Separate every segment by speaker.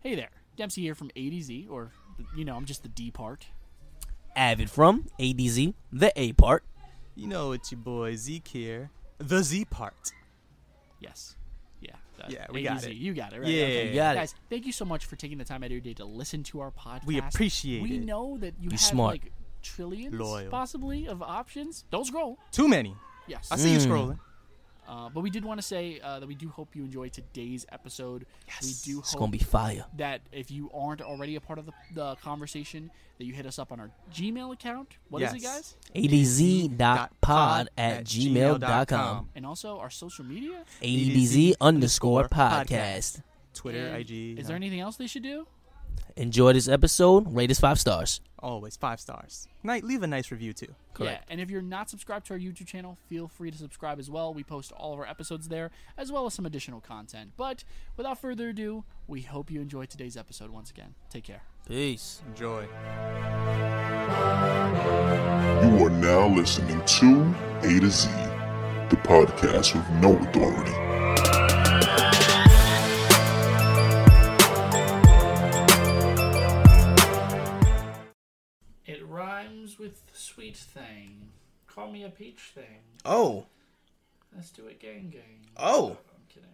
Speaker 1: Hey there, Dempsey here from A to Z, or you know, I'm just the D part.
Speaker 2: Avid from ADZ, the A part.
Speaker 3: You know it's your boy Zeke here, the Z part.
Speaker 1: Yes. Yeah.
Speaker 3: Yeah,
Speaker 1: A
Speaker 3: we
Speaker 1: to
Speaker 3: got
Speaker 1: Z.
Speaker 3: it.
Speaker 1: You got it, right?
Speaker 3: Yeah,
Speaker 1: Okay.
Speaker 3: you
Speaker 2: got it.
Speaker 1: Guys, thank you so much for taking the time out of your day to listen to our podcast.
Speaker 3: We appreciate
Speaker 1: We
Speaker 3: it.
Speaker 1: know that you
Speaker 2: You
Speaker 1: have
Speaker 2: smart.
Speaker 1: like trillions,
Speaker 3: Loyal.
Speaker 1: possibly, of options. Don't scroll.
Speaker 3: Too many.
Speaker 1: Yes.
Speaker 3: I see
Speaker 4: Hmm.
Speaker 3: you scrolling.
Speaker 1: Uh, but we did want to say uh, that we do hope you enjoy today's episode. Yes. We do
Speaker 2: It's
Speaker 1: hope
Speaker 2: gonna be fire.
Speaker 1: that if you aren't already a part of the, the conversation, that you hit us up on our Gmail account. What is it,
Speaker 3: Yes.
Speaker 1: guys?
Speaker 2: ADZ.pod at gmail.com.
Speaker 1: And also our social media.
Speaker 2: ADZ underscore podcast.
Speaker 3: Twitter,
Speaker 1: And
Speaker 3: IG.
Speaker 1: Is there anything else they should do?
Speaker 2: Enjoy this episode. Rate us five stars.
Speaker 3: Always five stars. Night, leave a nice review too.
Speaker 2: Correct.
Speaker 1: Yeah, and if you're not subscribed to our YouTube channel, feel free to subscribe as well. We post all of our episodes there, as well as some additional content. But without further ado, we hope you enjoyed today's episode once again. Take care.
Speaker 2: Peace.
Speaker 3: Enjoy.
Speaker 5: You are now listening to A to Z, the podcast with no authority.
Speaker 1: It rhymes with sweet thing. Call me a peach thing.
Speaker 2: Oh.
Speaker 1: Let's do it gang gang.
Speaker 2: Oh.
Speaker 1: I'm kidding.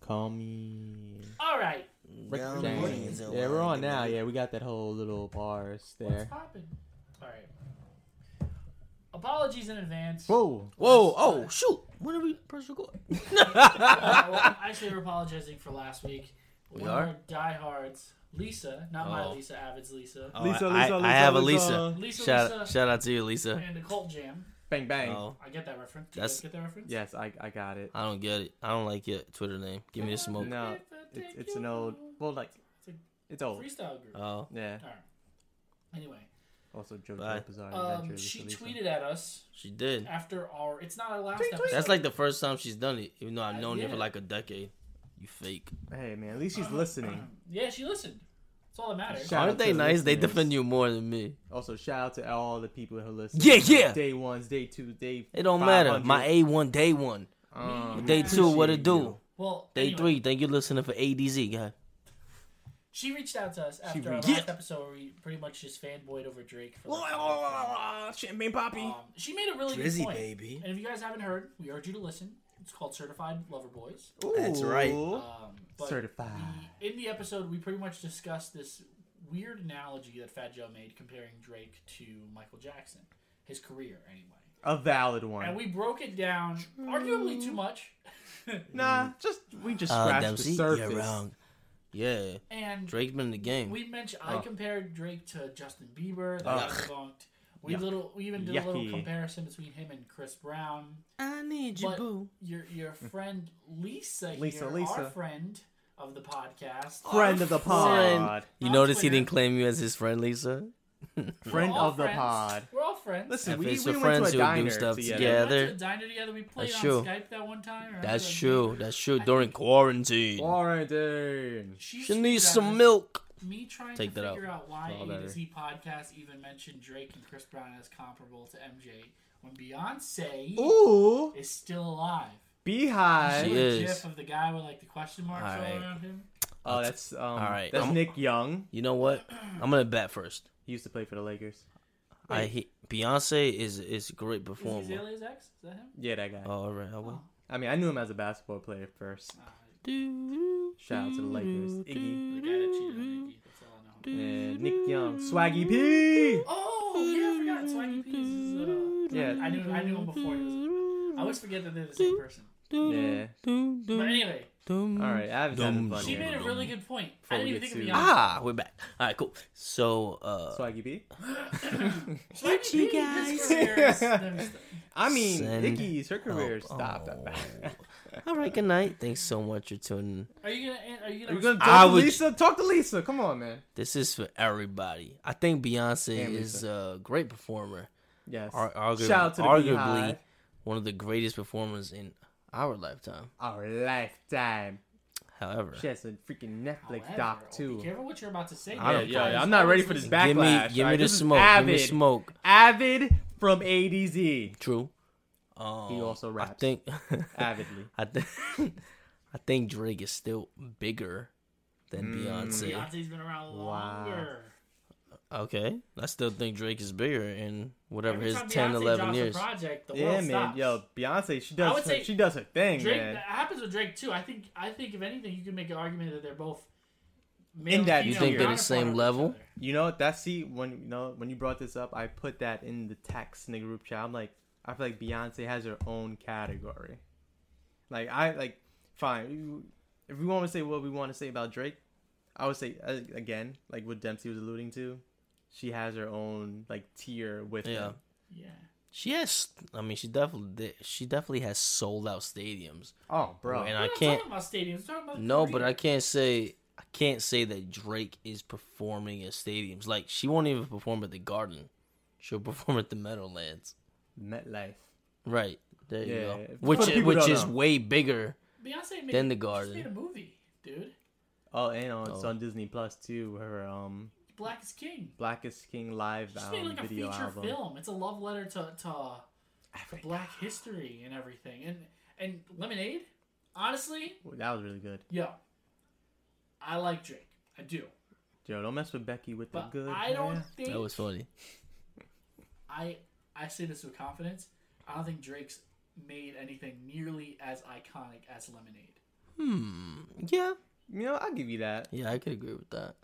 Speaker 4: Call me.
Speaker 1: All right.
Speaker 4: James. Yeah, we're on now. Yeah, we got that whole little bars there.
Speaker 1: Poppin'. All right. Apologies in advance.
Speaker 4: Whoa.
Speaker 2: Whoa. Oh, shoot. When are we press record?
Speaker 1: Uh, well, actually, we're apologizing for last week. We
Speaker 2: are?
Speaker 1: diehards. Lisa, not my
Speaker 2: Oh.
Speaker 1: Lisa, Avid's Lisa,
Speaker 3: Lisa,
Speaker 2: I,
Speaker 3: Lisa,
Speaker 2: I
Speaker 3: Lisa,
Speaker 2: have a Lisa.
Speaker 3: Lisa.
Speaker 1: Lisa,
Speaker 2: shout,
Speaker 1: Lisa.
Speaker 2: shout out to you, Lisa.
Speaker 1: and the Cult Jam.
Speaker 4: Bang bang.
Speaker 2: Oh,
Speaker 1: I get that reference. Do
Speaker 2: That's-
Speaker 1: you guys get that reference?
Speaker 4: Yes, I I got it.
Speaker 2: I don't get it. I don't like your Twitter name. Give me the smoke.
Speaker 4: No, it's it's an old. Well, like
Speaker 1: It's
Speaker 4: it's
Speaker 1: a
Speaker 4: old.
Speaker 1: freestyle group.
Speaker 2: Oh.
Speaker 4: Yeah.
Speaker 1: All right. Anyway,
Speaker 4: Also,
Speaker 2: Bye.
Speaker 4: JoJo Bizarre
Speaker 1: um,
Speaker 4: Adventure.
Speaker 1: she
Speaker 4: Lisa, Lisa.
Speaker 1: tweeted at us
Speaker 2: She did.
Speaker 1: after our. It's not our last episode.
Speaker 2: That's like the first time she's done it, even though I've
Speaker 1: I
Speaker 2: known you
Speaker 1: did.
Speaker 2: for like a decade. You fake.
Speaker 4: Hey man, at least she's listening.
Speaker 1: Yeah, she listened. That's all that matters.
Speaker 4: Shout out
Speaker 2: Aren't they
Speaker 4: to the
Speaker 2: nice? They
Speaker 4: listeners.
Speaker 2: defend you more than me.
Speaker 4: Also, shout out to all the people who listen.
Speaker 2: Yeah, yeah.
Speaker 4: Day ones, day two, day.
Speaker 2: It don't matter.
Speaker 4: 500.
Speaker 2: My A one, day one,
Speaker 4: Um,
Speaker 2: day two. What it
Speaker 4: appreciate
Speaker 2: do?
Speaker 4: you.
Speaker 1: Well,
Speaker 2: Day
Speaker 1: anyway,
Speaker 2: three. Thank you listening for ADZ, guy.
Speaker 1: She reached out to us after our
Speaker 4: reached-
Speaker 1: last episode where we pretty much just fanboyed over Drake. For like,
Speaker 4: Champagne poppy.
Speaker 1: Um, she made a really
Speaker 2: Drizzy,
Speaker 1: good point.
Speaker 2: baby.
Speaker 1: And if you guys haven't heard, we urge you to listen. It's called Certified Lover Boys.
Speaker 2: That's right.
Speaker 4: Ooh.
Speaker 1: Um, but
Speaker 4: Certified.
Speaker 1: the- in the episode, we pretty much discussed this weird analogy that Fat Joe made comparing Drake to Michael Jackson, his career anyway.
Speaker 4: A valid
Speaker 1: And
Speaker 4: one.
Speaker 1: we broke it down, arguably too much.
Speaker 4: nah, just we just
Speaker 2: Uh,
Speaker 4: scratched the
Speaker 2: Dempsey,
Speaker 4: surface.
Speaker 2: you're wrong. Yeah,
Speaker 1: and
Speaker 2: Drake's been in the game.
Speaker 1: we mentioned
Speaker 4: Oh.
Speaker 1: I compared Drake to Justin Bieber. That got debunked. We little we even did a little
Speaker 4: Yucky.
Speaker 1: comparison between him and Chris Brown.
Speaker 2: I need
Speaker 1: But your your friend Lisa,
Speaker 4: Lisa,
Speaker 1: here, our
Speaker 4: Lisa.
Speaker 1: friend of the podcast,
Speaker 4: Friend of the pod.
Speaker 2: You
Speaker 1: On
Speaker 2: notice he
Speaker 1: Twitter.
Speaker 2: didn't claim you as his friend, Lisa.
Speaker 4: Friend
Speaker 1: We're all
Speaker 4: of the
Speaker 1: friends.
Speaker 4: pod.
Speaker 1: We're all friends.
Speaker 4: Listen,
Speaker 2: If
Speaker 4: we,
Speaker 2: it's
Speaker 4: we
Speaker 2: the
Speaker 4: went to
Speaker 2: friends
Speaker 4: a
Speaker 2: who do
Speaker 4: diner
Speaker 2: stuff
Speaker 4: together.
Speaker 1: we
Speaker 2: together.
Speaker 1: went to
Speaker 2: they're-
Speaker 1: a diner together. We played
Speaker 2: That's
Speaker 1: on
Speaker 2: true.
Speaker 1: Skype that one time. remember?
Speaker 2: That's
Speaker 1: Like,
Speaker 2: true. That's true. During quarantine,
Speaker 4: Quarantine.
Speaker 1: She,
Speaker 2: she needs
Speaker 1: that was
Speaker 2: some milk.
Speaker 1: Me trying
Speaker 2: Take
Speaker 1: to
Speaker 2: that out.
Speaker 1: figure out, why
Speaker 4: It's all
Speaker 1: A to
Speaker 4: better.
Speaker 1: Z podcast even mentioned Drake and Chris Brown as comparable to MJ when Beyonce
Speaker 4: Ooh,
Speaker 1: is still alive.
Speaker 4: beehive.
Speaker 2: She
Speaker 1: The
Speaker 2: is.
Speaker 1: GIF of the guy with like the question marks all,
Speaker 2: All right.
Speaker 1: around him.
Speaker 4: Oh, that's um.
Speaker 2: right,
Speaker 4: That's
Speaker 2: I'm-
Speaker 4: Nick Young.
Speaker 2: You know what? I'm gonna bet first.
Speaker 4: He used to play for the Lakers.
Speaker 2: I he, Beyonce is is a
Speaker 1: Is
Speaker 2: great
Speaker 1: he
Speaker 2: performer.
Speaker 1: Azalea's ex? Is that him?
Speaker 4: Yeah, that guy.
Speaker 2: Oh, all right, I will.
Speaker 4: I mean, I knew him as a basketball player first. Shout out to the Lakers. Iggy
Speaker 1: The guy that cheated on Nikki. That's all I know.
Speaker 4: and Nick Young, Swaggy P.
Speaker 1: Oh yeah, I forgot. Swaggy P's is. Uh,
Speaker 4: Yeah.
Speaker 1: I knew I knew him before. He was, I always forget that they're the same person.
Speaker 4: Yeah.
Speaker 1: But anyway,
Speaker 4: All right, I was having fun.
Speaker 1: she
Speaker 4: here.
Speaker 1: made a really good point. I didn't
Speaker 4: we
Speaker 1: even
Speaker 4: get
Speaker 1: think of
Speaker 4: sued.
Speaker 1: Beyonce.
Speaker 2: Ah, we're back. All right, cool. So, uh,
Speaker 4: Swaggy P.
Speaker 1: Swaggy P, his career is- let me stop.
Speaker 4: I mean,
Speaker 2: Send
Speaker 4: Nicky's her career
Speaker 2: help.
Speaker 4: stopped.
Speaker 2: Oh. All right, good night. Thanks so much for tuning. in.
Speaker 1: Are you gonna? Are you
Speaker 4: Are
Speaker 1: gonna?
Speaker 4: you gonna talk
Speaker 2: I
Speaker 4: to
Speaker 2: would-
Speaker 4: Lisa? Talk to Lisa. Come on, man.
Speaker 2: This is for everybody. I think Beyonce
Speaker 4: And
Speaker 2: is a great performer.
Speaker 4: Yes.
Speaker 2: Ar- argu-
Speaker 4: Shout out to the
Speaker 2: arguably
Speaker 4: Beehive.
Speaker 2: one of the greatest performers in our lifetime.
Speaker 4: Our lifetime.
Speaker 2: However,
Speaker 4: She has a freaking Netflix
Speaker 1: However,
Speaker 4: doc
Speaker 1: Be
Speaker 4: too.
Speaker 1: careful what you're about to say.
Speaker 2: I
Speaker 4: Yeah,
Speaker 2: don't-
Speaker 1: dude.
Speaker 4: yeah, yeah.
Speaker 1: Guys,
Speaker 4: I'm not ready
Speaker 1: always
Speaker 4: for this
Speaker 1: listen.
Speaker 4: backlash.
Speaker 2: give me, give me
Speaker 4: alright?
Speaker 2: the
Speaker 4: This is
Speaker 2: smoke. Give me
Speaker 4: Avid.
Speaker 2: smoke.
Speaker 4: Avid from ADZ.
Speaker 2: True. Um,
Speaker 4: He also
Speaker 2: I
Speaker 4: raps
Speaker 2: think.
Speaker 4: avidly.
Speaker 2: I think. I think Drake is still bigger than
Speaker 4: Mm.
Speaker 2: Beyonce.
Speaker 1: Beyonce's been around
Speaker 4: Wow.
Speaker 1: longer.
Speaker 2: Okay, I still think Drake is bigger in whatever
Speaker 1: Every
Speaker 2: his
Speaker 1: time
Speaker 2: 10,
Speaker 1: Beyonce
Speaker 2: 11
Speaker 1: drops a
Speaker 2: years.
Speaker 1: project, the
Speaker 4: Yeah,
Speaker 1: world
Speaker 4: man.
Speaker 1: stops.
Speaker 4: Yo, Beyonce, she
Speaker 1: I
Speaker 4: does
Speaker 1: would
Speaker 4: her,
Speaker 1: say
Speaker 4: she does her thing,
Speaker 1: Drake.
Speaker 4: man.
Speaker 1: That happens with Drake too. I think. I think if anything, you can make an argument that they're both. male
Speaker 4: In
Speaker 1: and
Speaker 4: that
Speaker 1: female
Speaker 4: You think they're the
Speaker 1: counterpart
Speaker 2: same
Speaker 1: of each
Speaker 2: level?
Speaker 1: other.
Speaker 4: You know that see when you know when you brought this up, I put that in the text in the group chat. I'm like, I feel like Beyonce has her own category. Like I like fine. you- If we want to say what we want to say about Drake, I would say uh, again, like what Dempsey was alluding to, she has her own like tier with
Speaker 2: Yeah.
Speaker 4: him.
Speaker 1: Yeah.
Speaker 2: She has. I mean, she definitely. did- She definitely has sold out stadiums.
Speaker 4: Oh, bro.
Speaker 2: and
Speaker 1: We're
Speaker 2: I
Speaker 1: not
Speaker 2: can't.
Speaker 1: Talking about stadiums. we're Talking about
Speaker 2: No,
Speaker 1: career.
Speaker 2: but I can't say I can't say that Drake is performing at stadiums. Like she won't even perform at the Garden. She'll perform at the Meadowlands.
Speaker 4: MetLife.
Speaker 2: Right there, you
Speaker 4: Yeah,
Speaker 2: go.
Speaker 4: yeah, yeah.
Speaker 2: Which
Speaker 4: For the people
Speaker 2: which
Speaker 4: don't
Speaker 2: is
Speaker 4: know.
Speaker 2: way bigger.
Speaker 1: Beyonce made,
Speaker 2: Then the
Speaker 1: she just
Speaker 2: Garden.
Speaker 1: made a movie, dude.
Speaker 4: Oh, and on, it's
Speaker 2: Oh.
Speaker 4: on Disney Plus too. Her um,
Speaker 1: Black is King.
Speaker 4: Blackest King live
Speaker 1: She's made
Speaker 4: um,
Speaker 1: like a
Speaker 4: video
Speaker 1: feature
Speaker 4: album.
Speaker 1: film. It's a love letter to to, to Black history and everything. And and Lemonade, honestly,
Speaker 4: That was really good.
Speaker 1: yo, I like Drake. I do,
Speaker 4: Yo, don't mess with Becky with
Speaker 1: but
Speaker 4: the good.
Speaker 1: I don't
Speaker 4: hair.
Speaker 1: think
Speaker 2: That was funny.
Speaker 1: I I say this with confidence. I don't think Drake's made anything nearly as iconic as Lemonade.
Speaker 2: Hmm. Yeah.
Speaker 4: You know, I'll give you that.
Speaker 2: Yeah, I could agree with that.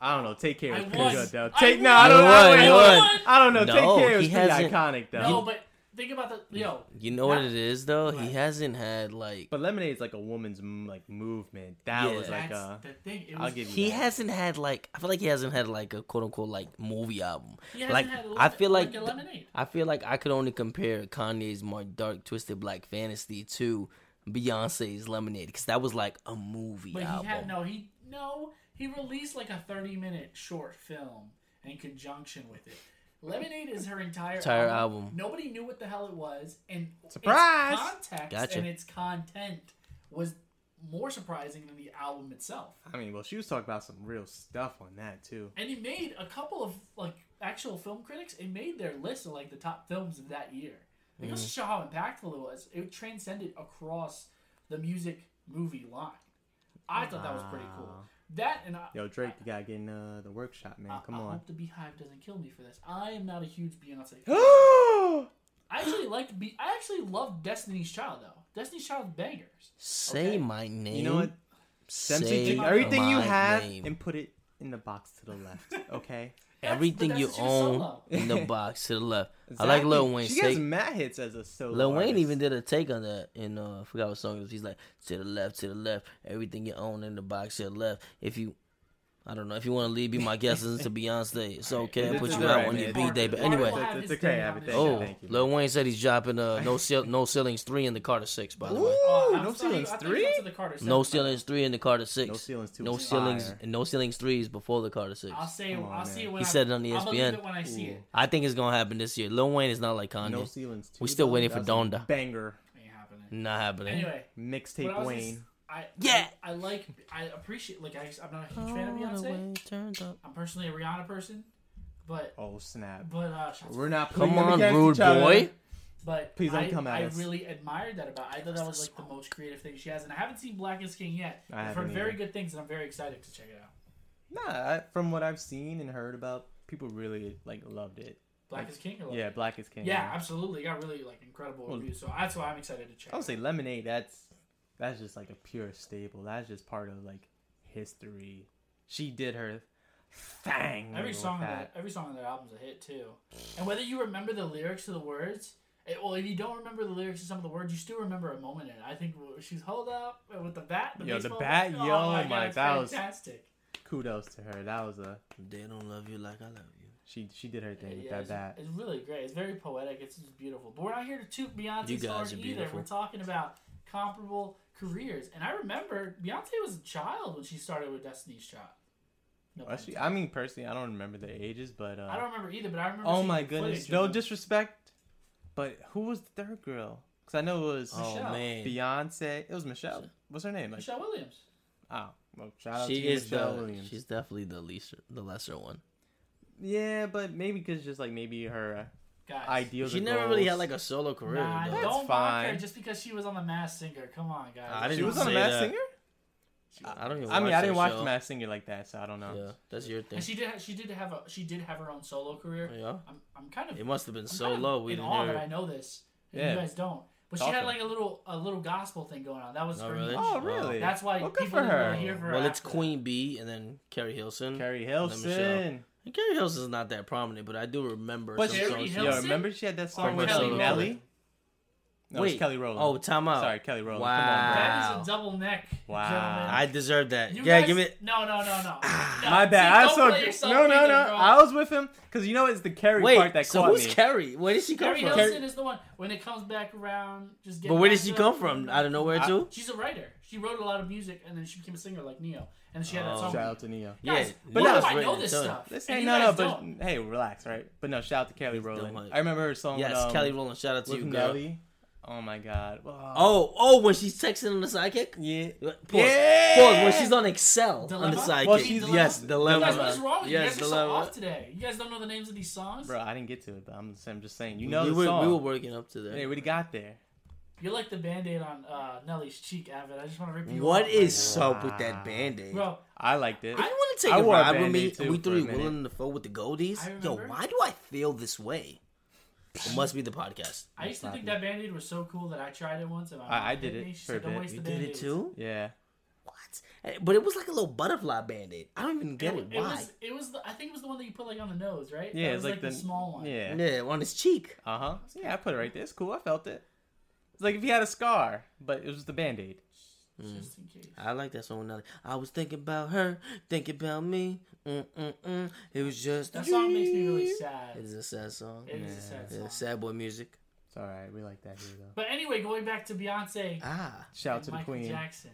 Speaker 4: I don't know. Take care.
Speaker 1: I
Speaker 4: is pretty
Speaker 1: won.
Speaker 4: good though.
Speaker 1: I
Speaker 4: Take
Speaker 1: won.
Speaker 4: no. I don't know.
Speaker 2: I won.
Speaker 4: wait, hold on. I don't know.
Speaker 2: No,
Speaker 4: Take care
Speaker 2: he
Speaker 4: is pretty
Speaker 2: hasn't-
Speaker 4: iconic though.
Speaker 1: No, but think about the yo.
Speaker 2: You know what it is though? He hasn't had like
Speaker 4: but lemonade is like a woman's m- like movement. That
Speaker 2: Yeah.
Speaker 4: was like uh,
Speaker 1: That's
Speaker 2: uh,
Speaker 4: a.
Speaker 1: the thing. It was,
Speaker 4: I'll give you.
Speaker 2: he
Speaker 4: that.
Speaker 2: hasn't had like I feel like he hasn't had like a quote unquote like movie album.
Speaker 1: He hasn't
Speaker 2: like
Speaker 1: had a
Speaker 2: I
Speaker 1: lemon-
Speaker 2: feel like
Speaker 1: like a
Speaker 2: th-
Speaker 1: lemonade.
Speaker 2: I feel like I could only compare Kanye's more dark twisted black fantasy to Beyonce's Lemonade because that was like a movie
Speaker 1: But
Speaker 2: album.
Speaker 1: he had no, he no, he released like a thirty-minute short film in conjunction with it. Lemonade is her entire
Speaker 2: Entire album.
Speaker 1: Nobody knew what the hell it was, and its
Speaker 4: Surprise!
Speaker 1: context
Speaker 2: Gotcha.
Speaker 1: and its content was more surprising than the album itself.
Speaker 4: I mean, well, she was talking about some real stuff on that too.
Speaker 1: And it made a couple of like actual film critics. It made their list of like the top films of that year. It
Speaker 4: Mm-hmm.
Speaker 1: goes to show how impactful it was. It transcended across the music movie line. I thought that was pretty cool. That and I,
Speaker 4: Yo, Drake, you gotta get in uh, the workshop, man. Come
Speaker 1: I
Speaker 4: on.
Speaker 1: hope the Beehive doesn't kill me for this. I am not a huge Beyonce. fan. I actually liked Be. I actually loved Destiny's Child though. Destiny's Child's bangers.
Speaker 2: Say
Speaker 1: Okay.
Speaker 2: my name.
Speaker 4: you know what? Dempsey,
Speaker 2: Say
Speaker 4: take everything you
Speaker 2: my
Speaker 4: have
Speaker 2: name.
Speaker 4: and put it in the box to the left. Okay.
Speaker 1: That's-
Speaker 2: everything
Speaker 1: but
Speaker 2: you
Speaker 1: that's just
Speaker 2: own
Speaker 1: solo.
Speaker 2: in the box to the left. I like
Speaker 4: Exactly.
Speaker 2: Lil Wayne's
Speaker 4: She gets
Speaker 2: take.
Speaker 4: mad hits as a solo.
Speaker 2: Lil Wayne
Speaker 4: artist.
Speaker 2: even did a take on that, and uh, I forgot what song it was. He's like, "To the left, to the left, everything you own in the box to the left." If you, I don't know, if you want to leave, be my guest. Listen to Beyonce. It's okay. I
Speaker 4: It's
Speaker 2: put you
Speaker 4: all
Speaker 2: out
Speaker 4: right,
Speaker 2: on
Speaker 4: man.
Speaker 2: your
Speaker 4: It's all
Speaker 2: B
Speaker 4: right.
Speaker 2: day. But
Speaker 1: Mark will
Speaker 2: anyway,
Speaker 1: have
Speaker 4: It's
Speaker 1: his
Speaker 4: okay,
Speaker 1: day on
Speaker 4: Abby,
Speaker 1: this
Speaker 4: thank you,
Speaker 1: show.
Speaker 2: oh,
Speaker 4: thank you.
Speaker 2: Lil Wayne said he's dropping uh, no seal, no ceilings three in the Carter Six. By the way,
Speaker 4: Ooh,
Speaker 1: oh, I'm
Speaker 4: no
Speaker 1: sorry,
Speaker 4: ceilings
Speaker 1: I thought you
Speaker 4: three.
Speaker 1: went to the Carter
Speaker 2: no
Speaker 1: Seven, but
Speaker 2: ceilings three in the Carter Six.
Speaker 4: No ceilings two
Speaker 2: No
Speaker 4: is
Speaker 2: ceilings
Speaker 4: fire.
Speaker 2: and no ceilings three is before the Carter Six.
Speaker 1: I'll say.
Speaker 4: Come on, E
Speaker 1: I'll
Speaker 4: man.
Speaker 1: see it when
Speaker 2: He
Speaker 1: I,
Speaker 2: said it on
Speaker 1: I'll believe
Speaker 2: ESPN.
Speaker 1: it when I see it.
Speaker 2: I think it's gonna happen this year. Lil Wayne is not like Kanye.
Speaker 4: No ceilings.
Speaker 2: We
Speaker 4: too,
Speaker 2: still
Speaker 4: though.
Speaker 2: waiting for
Speaker 4: That's a
Speaker 2: Donda.
Speaker 4: Banger.
Speaker 1: Ain't happening.
Speaker 2: Not happening.
Speaker 1: Anyway, what I
Speaker 4: Mixtape
Speaker 1: was
Speaker 4: Wayne.
Speaker 1: just- I
Speaker 2: Yeah.
Speaker 1: I, I like. I appreciate. Like I, I'm not a huge fan of Beyonce. I'm personally a Rihanna person, but
Speaker 4: Oh snap!
Speaker 1: but uh, shots
Speaker 4: We're not.
Speaker 2: Come
Speaker 4: putting them
Speaker 2: on,
Speaker 4: against
Speaker 2: rude
Speaker 4: each other.
Speaker 2: boy.
Speaker 1: But
Speaker 4: Please don't
Speaker 1: I,
Speaker 4: come at
Speaker 1: I
Speaker 4: us.
Speaker 1: really admired that about. I thought that was like the most creative thing she has, and I haven't seen Black is King yet.
Speaker 4: I
Speaker 1: I've heard
Speaker 4: haven't
Speaker 1: very
Speaker 4: either.
Speaker 1: good things, and I'm very excited to check it out.
Speaker 4: Nah, I, from what I've seen and heard about, people really like loved it.
Speaker 1: Black is King, or what?
Speaker 4: Yeah, Black is King.
Speaker 1: yeah, absolutely. It got really like incredible reviews, so that's why I'm excited to check.
Speaker 4: I would
Speaker 1: it out.
Speaker 4: say Lemonade. That's that's just like a pure staple. That's just part of like history. She did her thing.
Speaker 1: Every
Speaker 4: with
Speaker 1: song, on that
Speaker 4: that.
Speaker 1: every song on that album's a hit too, and whether you remember the lyrics to the words, eh, well, if you don't remember the lyrics to some of the words, you still remember a moment in it. I think well, she's hold up and with the bat. The
Speaker 4: Yo, the
Speaker 1: baseball
Speaker 4: bat,
Speaker 1: bat.
Speaker 4: yo,
Speaker 1: oh my,
Speaker 4: my-
Speaker 1: God, it's
Speaker 4: that was-
Speaker 1: fantastic.
Speaker 4: Kudos to her. That was a
Speaker 2: They don't love you like I love you.
Speaker 4: she. She did her thing with
Speaker 1: Yeah,
Speaker 4: that bat.
Speaker 1: it's, it's really great. It's very poetic. It's just beautiful. But we're not here to toot Beyonce's
Speaker 2: You guys
Speaker 1: horn
Speaker 2: are
Speaker 1: either.
Speaker 2: beautiful.
Speaker 1: We're talking about comparable careers. And I remember Beyonce was a child when she started with Destiny's Child. No pun
Speaker 4: Actually, I mean, personally, I don't remember their ages, but uh,
Speaker 1: I don't remember either, but I remember.
Speaker 4: oh
Speaker 1: seeing
Speaker 4: my
Speaker 1: the
Speaker 4: goodness,
Speaker 1: footage
Speaker 4: no
Speaker 1: of the-
Speaker 4: disrespect, but who was the third girl? Because I know it was
Speaker 2: Oh
Speaker 1: Michelle.
Speaker 2: man,
Speaker 4: Beyonce. It was Michelle. What's her name? Like,
Speaker 1: Michelle Williams.
Speaker 4: oh, well, shout out
Speaker 2: she
Speaker 4: to
Speaker 2: is
Speaker 4: Michelle
Speaker 2: the
Speaker 4: Williams.
Speaker 2: she's definitely the lesser the lesser one.
Speaker 4: Yeah, but maybe because just like maybe her uh,
Speaker 1: Guys,
Speaker 4: ideals.
Speaker 2: She
Speaker 4: or
Speaker 2: never really
Speaker 4: goals-
Speaker 2: had like a solo career.
Speaker 1: Nah,
Speaker 2: though.
Speaker 1: don't mock her
Speaker 4: fine.
Speaker 1: just because she was on the Mass Singer. Come on, guys.
Speaker 2: I didn't
Speaker 4: She was on the
Speaker 2: say
Speaker 4: Masked
Speaker 2: that.
Speaker 4: Singer.
Speaker 2: I don't even.
Speaker 4: I mean,
Speaker 2: watch
Speaker 4: I
Speaker 2: that
Speaker 4: didn't watch
Speaker 2: show.
Speaker 4: the Masked Singer like that, so I don't know.
Speaker 2: Yeah, that's your thing.
Speaker 1: And she did. ha- She did have a. She did have her own solo career.
Speaker 2: Yeah.
Speaker 1: I'm. I'm kind of.
Speaker 2: It must have been
Speaker 1: I'm
Speaker 2: so
Speaker 1: kind of
Speaker 2: low, we
Speaker 1: in
Speaker 2: didn't
Speaker 1: awe
Speaker 2: hear
Speaker 1: that
Speaker 2: it.
Speaker 1: I know this. and
Speaker 4: Yeah.
Speaker 1: You guys don't. But she
Speaker 4: Talk
Speaker 1: had
Speaker 4: to
Speaker 1: like a little a little gospel thing going on. That was
Speaker 2: No,
Speaker 1: her.
Speaker 2: really?
Speaker 4: Oh,
Speaker 2: Wow.
Speaker 4: really?
Speaker 1: That's why
Speaker 4: Well, good
Speaker 1: people
Speaker 4: for
Speaker 1: didn't
Speaker 4: her.
Speaker 1: really hear her.
Speaker 2: Well, it's
Speaker 1: after that.
Speaker 2: Queen B and then Carrie Hilson.
Speaker 4: Carrie
Speaker 2: and then Michelle.
Speaker 4: Hilson.
Speaker 2: And Carrie Hilson's not that prominent, but I do remember
Speaker 4: But
Speaker 2: some
Speaker 1: Carrie
Speaker 2: songs.
Speaker 4: Yo,
Speaker 1: Hilson?
Speaker 4: remember she had that song
Speaker 1: Or
Speaker 4: with
Speaker 1: Kelly
Speaker 4: Nelly?
Speaker 1: Rowland?
Speaker 4: No, it was Kelly Rowland.
Speaker 2: Oh, time out.
Speaker 4: Sorry, Kelly Rowland.
Speaker 2: Wow.
Speaker 4: Come on,
Speaker 1: That
Speaker 2: Wow.
Speaker 1: is a double neck.
Speaker 4: Wow.
Speaker 1: gentlemen.
Speaker 2: I deserve that.
Speaker 1: You
Speaker 2: yeah,
Speaker 1: guys-
Speaker 2: give me.
Speaker 1: No, no, no, no.
Speaker 4: bro. My bad. I
Speaker 1: saw.
Speaker 4: was so no, no, no. I was with him because you know it's the Carrie part
Speaker 2: Wait,
Speaker 4: that
Speaker 2: so
Speaker 4: caught
Speaker 2: who's
Speaker 4: me.
Speaker 2: Carrie? Where did she come
Speaker 1: Carrie
Speaker 2: from?
Speaker 1: Hilson is the one. When it comes back around, just get
Speaker 2: But where
Speaker 1: back
Speaker 2: did she
Speaker 1: to-
Speaker 2: come from? Out of nowhere
Speaker 4: I-
Speaker 2: too?
Speaker 1: She's a writer. She wrote a lot of music, and then she became a singer like Neo. And she had that
Speaker 2: Oh.
Speaker 1: song.
Speaker 4: Shout out to Neo.
Speaker 1: Guys,
Speaker 2: Yeah,
Speaker 1: but
Speaker 2: Neo's
Speaker 1: now I know
Speaker 2: written a
Speaker 1: this
Speaker 2: ton.
Speaker 1: stuff.
Speaker 4: Let's
Speaker 1: and
Speaker 4: say
Speaker 1: you
Speaker 4: no, no,
Speaker 1: guys
Speaker 4: but
Speaker 1: don't.
Speaker 4: hey, relax, right? But no, shout out to Kelly
Speaker 2: dumb,
Speaker 4: Rowland.
Speaker 2: like-
Speaker 4: I remember her song.
Speaker 2: Yes,
Speaker 4: with, um,
Speaker 2: Kelly Rowland. Shout out to
Speaker 4: with
Speaker 2: you, girl.
Speaker 4: Nelly. Oh my God. Oh.
Speaker 2: Oh, oh, when she's texting on the sidekick.
Speaker 4: Yeah.
Speaker 2: Pause.
Speaker 4: Yeah.
Speaker 2: Pause. When she's on Excel on the
Speaker 1: Dilemma?
Speaker 2: sidekick.
Speaker 4: Well, she's-
Speaker 2: yes,
Speaker 1: You
Speaker 2: dilemma.
Speaker 1: guys, what is wrong with you? You
Speaker 2: yes,
Speaker 1: guys are so
Speaker 2: dilemma.
Speaker 1: off today. You guys don't know the names of these songs.
Speaker 4: Bro, I didn't get to it, but I'm, I'm just saying. You know
Speaker 2: we,
Speaker 4: the
Speaker 2: were,
Speaker 4: song.
Speaker 2: we were working up to that.
Speaker 4: Hey, we got there.
Speaker 1: You're like the band-aid on uh, Nelly's cheek, Avid. I just want to rip you
Speaker 2: what
Speaker 1: off.
Speaker 2: is up with that band aid?
Speaker 1: bro?
Speaker 4: I liked it.
Speaker 2: I want to take
Speaker 4: I
Speaker 2: a
Speaker 4: wore a
Speaker 2: ride with me.
Speaker 4: Band-Aid
Speaker 2: and
Speaker 4: too
Speaker 2: we
Speaker 4: for a
Speaker 2: three
Speaker 4: minute.
Speaker 2: willing in the floor with the
Speaker 1: I
Speaker 2: goldies. Yo,
Speaker 1: remember.
Speaker 2: why do I feel this way? It must be the podcast.
Speaker 1: I used to think that band-aid was so cool that I tried it once. And my
Speaker 4: I-
Speaker 1: mom
Speaker 4: I
Speaker 1: hit
Speaker 4: did it
Speaker 1: me. She
Speaker 4: for a
Speaker 1: said, "Don't
Speaker 4: bit.
Speaker 1: waste
Speaker 2: You
Speaker 1: the
Speaker 2: did it
Speaker 1: Band-Aids."
Speaker 2: too?
Speaker 4: Yeah.
Speaker 2: What? Eh, But it was like a little butterfly band aid. I don't even
Speaker 1: It,
Speaker 2: get it.
Speaker 1: it
Speaker 2: Why?
Speaker 1: was. It was. The, I think it was the one that you put like on the nose, right?
Speaker 4: Yeah,
Speaker 1: That
Speaker 4: it's
Speaker 1: was,
Speaker 4: like,
Speaker 1: the, small one.
Speaker 4: Yeah.
Speaker 2: Yeah, on his cheek.
Speaker 4: Uh huh. Yeah, I put it right there. It's cool. I felt it. It's like if he had a scar, but it was the band aid.
Speaker 1: Just in case.
Speaker 2: I like that song. Nelly. I was thinking about her, thinking about me. Mm mm mm. It was just.
Speaker 1: That song makes me really
Speaker 2: It
Speaker 1: sad.
Speaker 2: is a sad song.
Speaker 1: It is a sad
Speaker 2: Yeah,
Speaker 1: song.
Speaker 2: sad boy music.
Speaker 4: It's all right. We like that here though.
Speaker 1: But anyway, going back to Beyonce
Speaker 2: Ah,
Speaker 4: Shout out
Speaker 1: and
Speaker 4: to the
Speaker 1: Michael
Speaker 4: queen.
Speaker 1: Jackson.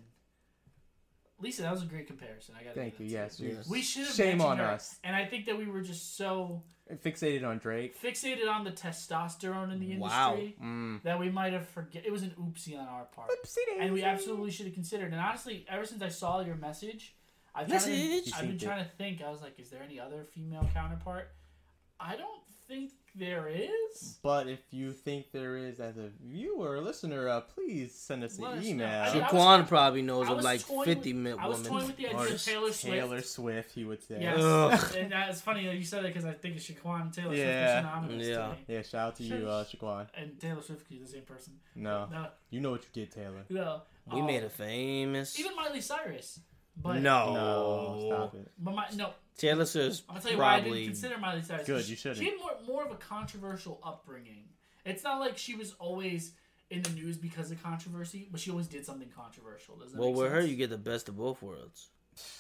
Speaker 1: Lisa, that was a great comparison. I got.
Speaker 4: Thank you. Yes. we-
Speaker 2: Yes.
Speaker 1: We should have
Speaker 4: Shame on
Speaker 1: mentioned her,
Speaker 4: us.
Speaker 1: And I think that we were just so
Speaker 4: Fixated on Drake.
Speaker 1: fixated on the testosterone in the
Speaker 2: Wow.
Speaker 1: industry
Speaker 4: Mm.
Speaker 1: that we might have forget. It was an oopsie on our part, and we absolutely should have considered. And honestly, ever since I saw your message, I've, tried to-
Speaker 2: Message?
Speaker 1: I've been
Speaker 4: You synced
Speaker 1: trying to think. I was like, is there any other female counterpart? I don't think there is.
Speaker 4: But if you think there is, as a viewer or listener, uh, please send us
Speaker 1: Let
Speaker 4: an
Speaker 1: us know.
Speaker 4: email.
Speaker 1: I mean, I-
Speaker 2: Jaquan probably knows
Speaker 1: I
Speaker 2: of
Speaker 1: was
Speaker 2: like
Speaker 1: toying
Speaker 2: fifty
Speaker 1: with-
Speaker 2: minute
Speaker 1: I was
Speaker 2: women.
Speaker 1: toying with the idea of
Speaker 2: artists.
Speaker 1: Taylor Swift.
Speaker 4: Taylor Swift, he would say.
Speaker 1: Yes,
Speaker 2: Ugh.
Speaker 1: and that's funny that you said that because I think Shaquan Taylor
Speaker 4: Yeah.
Speaker 1: Swift is synonymous
Speaker 2: Yeah.
Speaker 1: yeah. to me.
Speaker 4: Yeah. Shout out to you, uh, Shaquan.
Speaker 1: And Taylor Swift is the same person.
Speaker 4: No,
Speaker 1: No,
Speaker 4: you know what you did, Taylor.
Speaker 1: no.
Speaker 2: We
Speaker 1: um,
Speaker 2: made her famous.
Speaker 1: even Miley Cyrus. But
Speaker 2: no,
Speaker 4: No, stop it.
Speaker 1: But my, no,
Speaker 2: Taylor Swift
Speaker 1: I'll tell you why I
Speaker 2: probably.
Speaker 1: didn't consider Miley Cyrus.
Speaker 4: Good,
Speaker 1: She-
Speaker 4: you shouldn't.
Speaker 1: She had more, more of a controversial upbringing. It's not like she was always in the news because of controversy, but she always did something controversial. Does that
Speaker 2: well,
Speaker 1: make
Speaker 2: with her,
Speaker 1: sense?
Speaker 2: you get the best of both worlds.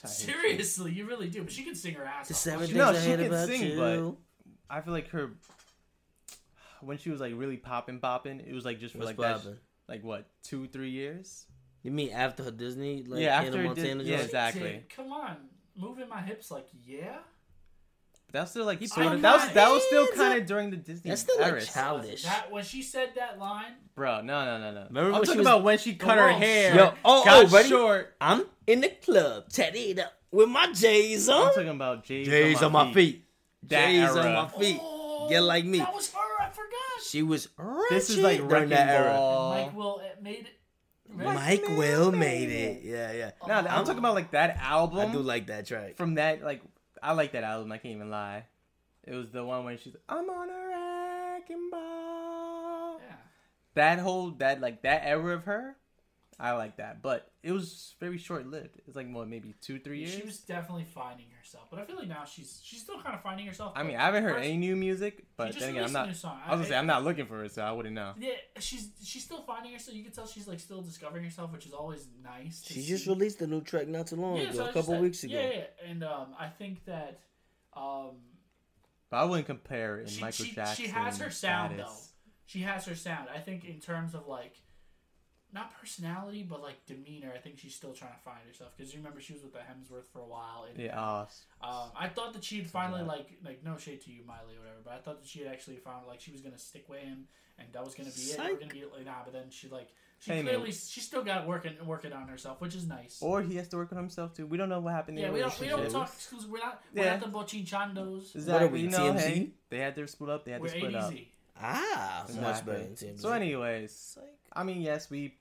Speaker 1: seriously, you really do. But she can sing her ass
Speaker 2: The
Speaker 1: off.
Speaker 2: seven
Speaker 1: She-
Speaker 2: things
Speaker 4: No,
Speaker 2: I
Speaker 4: she
Speaker 2: hate
Speaker 4: can
Speaker 2: about
Speaker 4: sing,
Speaker 2: you.
Speaker 4: I feel like her when she was like really popping popping, it was like just for
Speaker 2: What's
Speaker 4: like that,
Speaker 2: poppin'?
Speaker 4: like what two three years.
Speaker 2: You mean after her Disney? Like,
Speaker 4: yeah,
Speaker 2: Hannah
Speaker 4: after it did,
Speaker 2: Montana.
Speaker 4: yeah,
Speaker 2: joint?
Speaker 4: exactly.
Speaker 1: Dude, come on, moving my hips like yeah.
Speaker 4: But that's still like
Speaker 1: put
Speaker 4: sort
Speaker 1: on
Speaker 4: of, that was
Speaker 1: my
Speaker 4: that was still
Speaker 2: hands
Speaker 4: kind of during the Disney
Speaker 2: That's still like
Speaker 4: era,
Speaker 2: childish.
Speaker 1: That when she said that line,
Speaker 4: bro. No, no, no, no.
Speaker 2: Remember
Speaker 4: I'm
Speaker 2: when she
Speaker 4: talking
Speaker 2: was-
Speaker 4: about when she cut her
Speaker 1: world
Speaker 4: hair.
Speaker 2: Yo, oh,
Speaker 4: got
Speaker 2: oh, ready?
Speaker 4: short.
Speaker 2: I'm in the club, tatted up with my J's
Speaker 4: I'm
Speaker 2: on.
Speaker 4: talking about J's,
Speaker 2: J's Oh. on my feet.
Speaker 4: That
Speaker 2: J's on
Speaker 4: era.
Speaker 2: my feet.
Speaker 1: oh,
Speaker 2: Get like me.
Speaker 1: That was her. I forgot.
Speaker 2: She was
Speaker 4: This is like
Speaker 2: ratchet during
Speaker 4: wrecking
Speaker 2: that era.
Speaker 4: ball.
Speaker 1: Mike will it made it.
Speaker 2: Mike
Speaker 4: Man,
Speaker 2: Will
Speaker 4: man.
Speaker 2: made it. Yeah, yeah.
Speaker 4: No, I'm,
Speaker 2: I'm-
Speaker 4: talking about like that album.
Speaker 1: Um,
Speaker 2: I do like that track.
Speaker 4: from that like I like that album. I can't even lie. It was the one where she's I'm on a wrecking ball.
Speaker 1: Yeah.
Speaker 4: That whole that like that era of her, I like that. But it was very short lived. It's like what maybe two three years.
Speaker 1: She was definitely finding herself, but I feel like now she's she's still kind of finding herself.
Speaker 4: I mean,
Speaker 1: but
Speaker 4: I haven't heard
Speaker 1: first-
Speaker 4: any new music, but
Speaker 1: just
Speaker 4: then again, I'm
Speaker 1: released a
Speaker 4: not.
Speaker 1: new song.
Speaker 4: I was gonna say
Speaker 1: I-
Speaker 4: I'm not looking for it, so I wouldn't know.
Speaker 1: Yeah, she's she's still finding herself. You can tell she's like still discovering herself, which is always nice. To
Speaker 2: She just
Speaker 1: see.
Speaker 2: released a new track not too long
Speaker 1: Yeah, so
Speaker 2: ago,
Speaker 1: I
Speaker 2: a
Speaker 1: just
Speaker 2: couple
Speaker 1: said-
Speaker 2: weeks ago.
Speaker 1: Yeah, yeah, and um, I think that um,
Speaker 4: But I wouldn't compare it in
Speaker 1: she,
Speaker 4: Michael
Speaker 1: she,
Speaker 4: Jackson.
Speaker 1: she has her sound
Speaker 4: status.
Speaker 1: though. She has her sound. I think in terms of like not personality, but like demeanor. I think she's still trying to find herself because you remember she was with the Hemsworth for a while. And,
Speaker 4: Yeah. Uh,
Speaker 1: Um, I thought that she'd finally like like no shade to you, Miley, or whatever. But I thought that she had actually found like she was gonna stick with him, and that was gonna be it. We're
Speaker 4: Psych.
Speaker 1: gonna be like nah. But then she like she
Speaker 4: Hey, man.
Speaker 1: clearly she still got working working on herself, which is nice.
Speaker 4: or he has to work on himself too. We don't know what happened. in
Speaker 1: yeah,
Speaker 4: the
Speaker 1: we don't we don't
Speaker 4: relationship.
Speaker 1: talk exclusive. We're not we're
Speaker 4: Yeah.
Speaker 1: not the Bochinchondos.
Speaker 4: Exactly.
Speaker 2: we,
Speaker 4: you know,
Speaker 2: TMZ?
Speaker 4: hey, they had their split up. They had
Speaker 1: We're
Speaker 4: to split
Speaker 1: eight
Speaker 4: up.
Speaker 1: easy.
Speaker 2: Ah, much
Speaker 4: Exactly.
Speaker 2: better than TMZ.
Speaker 4: So, anyways,
Speaker 2: Psych.
Speaker 4: I mean, yes, we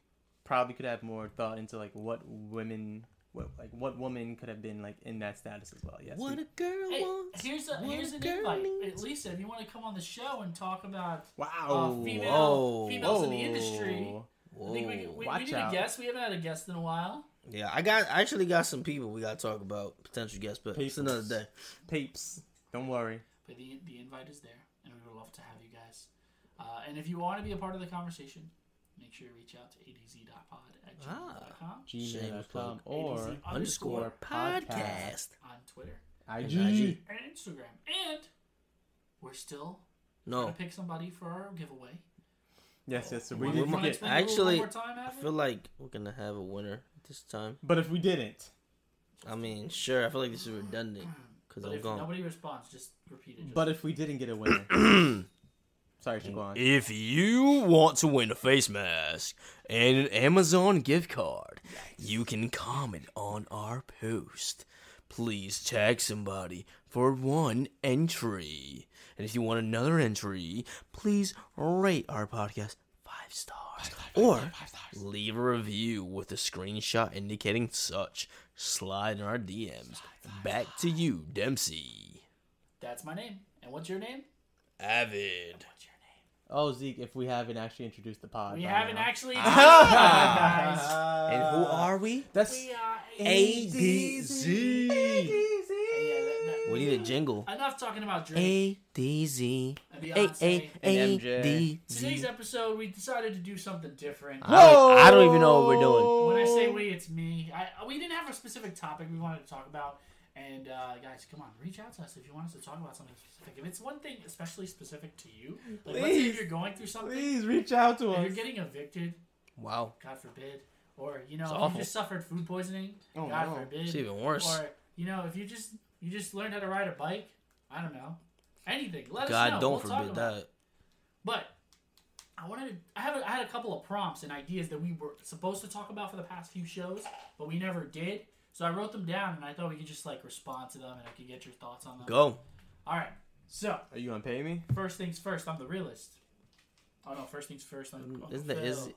Speaker 4: probably could have more thought into like what women, what like what woman could have been like in that status as well. Yes,
Speaker 2: what
Speaker 4: we-
Speaker 2: a girl
Speaker 1: Hey,
Speaker 2: wants.
Speaker 1: here's a,
Speaker 2: what
Speaker 1: here's an
Speaker 2: girl
Speaker 1: invite,
Speaker 2: needs.
Speaker 1: Lisa. If you want to come on the show and talk about uh,
Speaker 4: wow,
Speaker 1: female
Speaker 2: whoa,
Speaker 1: females in the industry,
Speaker 4: Whoa.
Speaker 1: I think we, we,
Speaker 4: Watch
Speaker 1: we need
Speaker 4: out.
Speaker 1: a guest. We haven't had a guest in a while.
Speaker 2: Yeah, I got I actually got some people we gotta talk about potential guests, but it's
Speaker 4: People.
Speaker 2: another day.
Speaker 4: Papes, don't worry.
Speaker 1: But the the invite is there, and we would love to have you guys. Uh, and if you want to be a part of the conversation, make sure you reach out to adz.pod
Speaker 2: Ah.
Speaker 1: at gmail.com
Speaker 2: Shameless plug.
Speaker 4: Gmail.com or
Speaker 1: ADZ
Speaker 2: Underscore podcast.
Speaker 4: podcast.
Speaker 1: on Twitter
Speaker 4: IG.
Speaker 1: and Instagram. And we're still
Speaker 2: No,
Speaker 1: going to pick somebody for our giveaway.
Speaker 4: Yes, yes. So
Speaker 1: Wanna-
Speaker 4: we did
Speaker 1: wanna
Speaker 4: forget.
Speaker 1: explain the rules one
Speaker 2: Actually,
Speaker 1: more time,
Speaker 2: I
Speaker 1: Adam?
Speaker 2: feel like we're gonna have a winner this time.
Speaker 4: But if we didn't,
Speaker 2: I mean, sure, I feel like this is redundant because
Speaker 1: But
Speaker 2: I'm
Speaker 1: if
Speaker 2: gone. Hmm.
Speaker 1: nobody responds, just repeat it. Just
Speaker 4: but if we didn't get a winner, sorry, Shaquan.
Speaker 6: If you want to win a face mask and an Amazon gift card, you can comment on our post. Please tag somebody for one entry. And if you want another entry, please rate our podcast five stars or leave a review with a screenshot indicating such. Slide in our DMs. Back to you, Dempsey.
Speaker 1: That's my name. And what's your name?
Speaker 6: Avid.
Speaker 1: What's your name?
Speaker 4: Oh, Zeke, if we haven't actually introduced the pod,
Speaker 1: We
Speaker 4: by
Speaker 1: haven't
Speaker 4: now.
Speaker 1: actually. guys.
Speaker 2: And who are we?
Speaker 4: That's
Speaker 1: We uh, are
Speaker 2: Uh, A D Z.
Speaker 1: Yeah, that- that-
Speaker 2: We need a jingle.
Speaker 1: Enough talking about Drake.
Speaker 2: A D Z.
Speaker 1: and
Speaker 2: A
Speaker 1: Beyonce.
Speaker 2: A A
Speaker 4: And MJ.
Speaker 2: D
Speaker 1: Today's
Speaker 2: Z.
Speaker 1: episode, we decided to do something different.
Speaker 2: I don't, I don't even know what we're doing.
Speaker 1: When I say we, it's me. I, we didn't have a specific topic we wanted to talk about. And uh, guys, come on, reach out to us if you want us to talk about something specific. If it's one thing especially specific to you, like let's say if
Speaker 4: Please.
Speaker 1: you're going through something,
Speaker 4: Please reach out to
Speaker 1: if
Speaker 4: us.
Speaker 1: you're getting evicted,
Speaker 2: Wow.
Speaker 1: God forbid, or you know, if
Speaker 2: awful.
Speaker 1: you just suffered food poisoning,
Speaker 4: Oh,
Speaker 1: God
Speaker 4: no.
Speaker 1: forbid,
Speaker 2: It's even worse.
Speaker 1: Or you know, if you just you just learned how to ride a bike, I don't know, anything. Let us know.
Speaker 2: God, don't
Speaker 1: We'll talk
Speaker 2: forbid
Speaker 1: about it.
Speaker 2: that.
Speaker 1: But I wanted to, I have a, I had a couple of prompts and ideas that we were supposed to talk about for the past few shows, but we never did. So I wrote them down and I thought we could just like respond to them and I could get your thoughts on them.
Speaker 2: Go.
Speaker 1: All right. So
Speaker 4: Are you gonna pay me?
Speaker 1: first things first, I'm the realist. Oh no, first things first. I'm Uncle
Speaker 2: Mm, Isn't that,
Speaker 1: Phil.
Speaker 2: is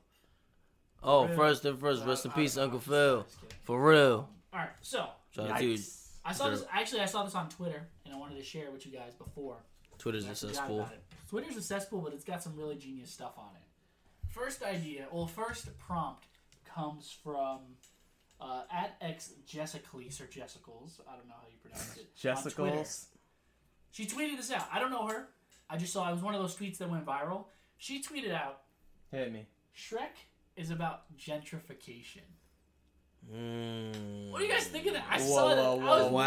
Speaker 2: Oh,
Speaker 1: Phil.
Speaker 2: first and first,
Speaker 1: Uh,
Speaker 2: rest in
Speaker 1: I-
Speaker 2: peace,
Speaker 1: I-
Speaker 2: Uncle
Speaker 1: I'm
Speaker 2: Phil.
Speaker 1: just kidding.
Speaker 2: For real.
Speaker 1: All right. So
Speaker 2: Try to do
Speaker 1: I saw
Speaker 2: Sure.
Speaker 1: this actually. I saw this on Twitter and I wanted to share it with you guys before.
Speaker 2: Twitter's
Speaker 1: I
Speaker 2: a
Speaker 1: forgot
Speaker 2: cesspool.
Speaker 1: about it. Twitter's a cesspool, but it's got some really genius stuff on it. First idea, well, first prompt comes from uh, at ex Jessicles or Jessicles. I don't know how you pronounce it. on Twitter.
Speaker 4: Jessicles.
Speaker 1: She tweeted this out. I don't know her. I just saw it was one of those tweets that went viral. She tweeted out
Speaker 4: Hit me.
Speaker 1: Shrek is about gentrification.
Speaker 2: Mm.
Speaker 1: What do you guys think of that? I
Speaker 4: Whoa,
Speaker 1: saw that.
Speaker 4: whoa,
Speaker 1: I
Speaker 4: whoa,
Speaker 1: was
Speaker 4: whoa.
Speaker 1: blown away.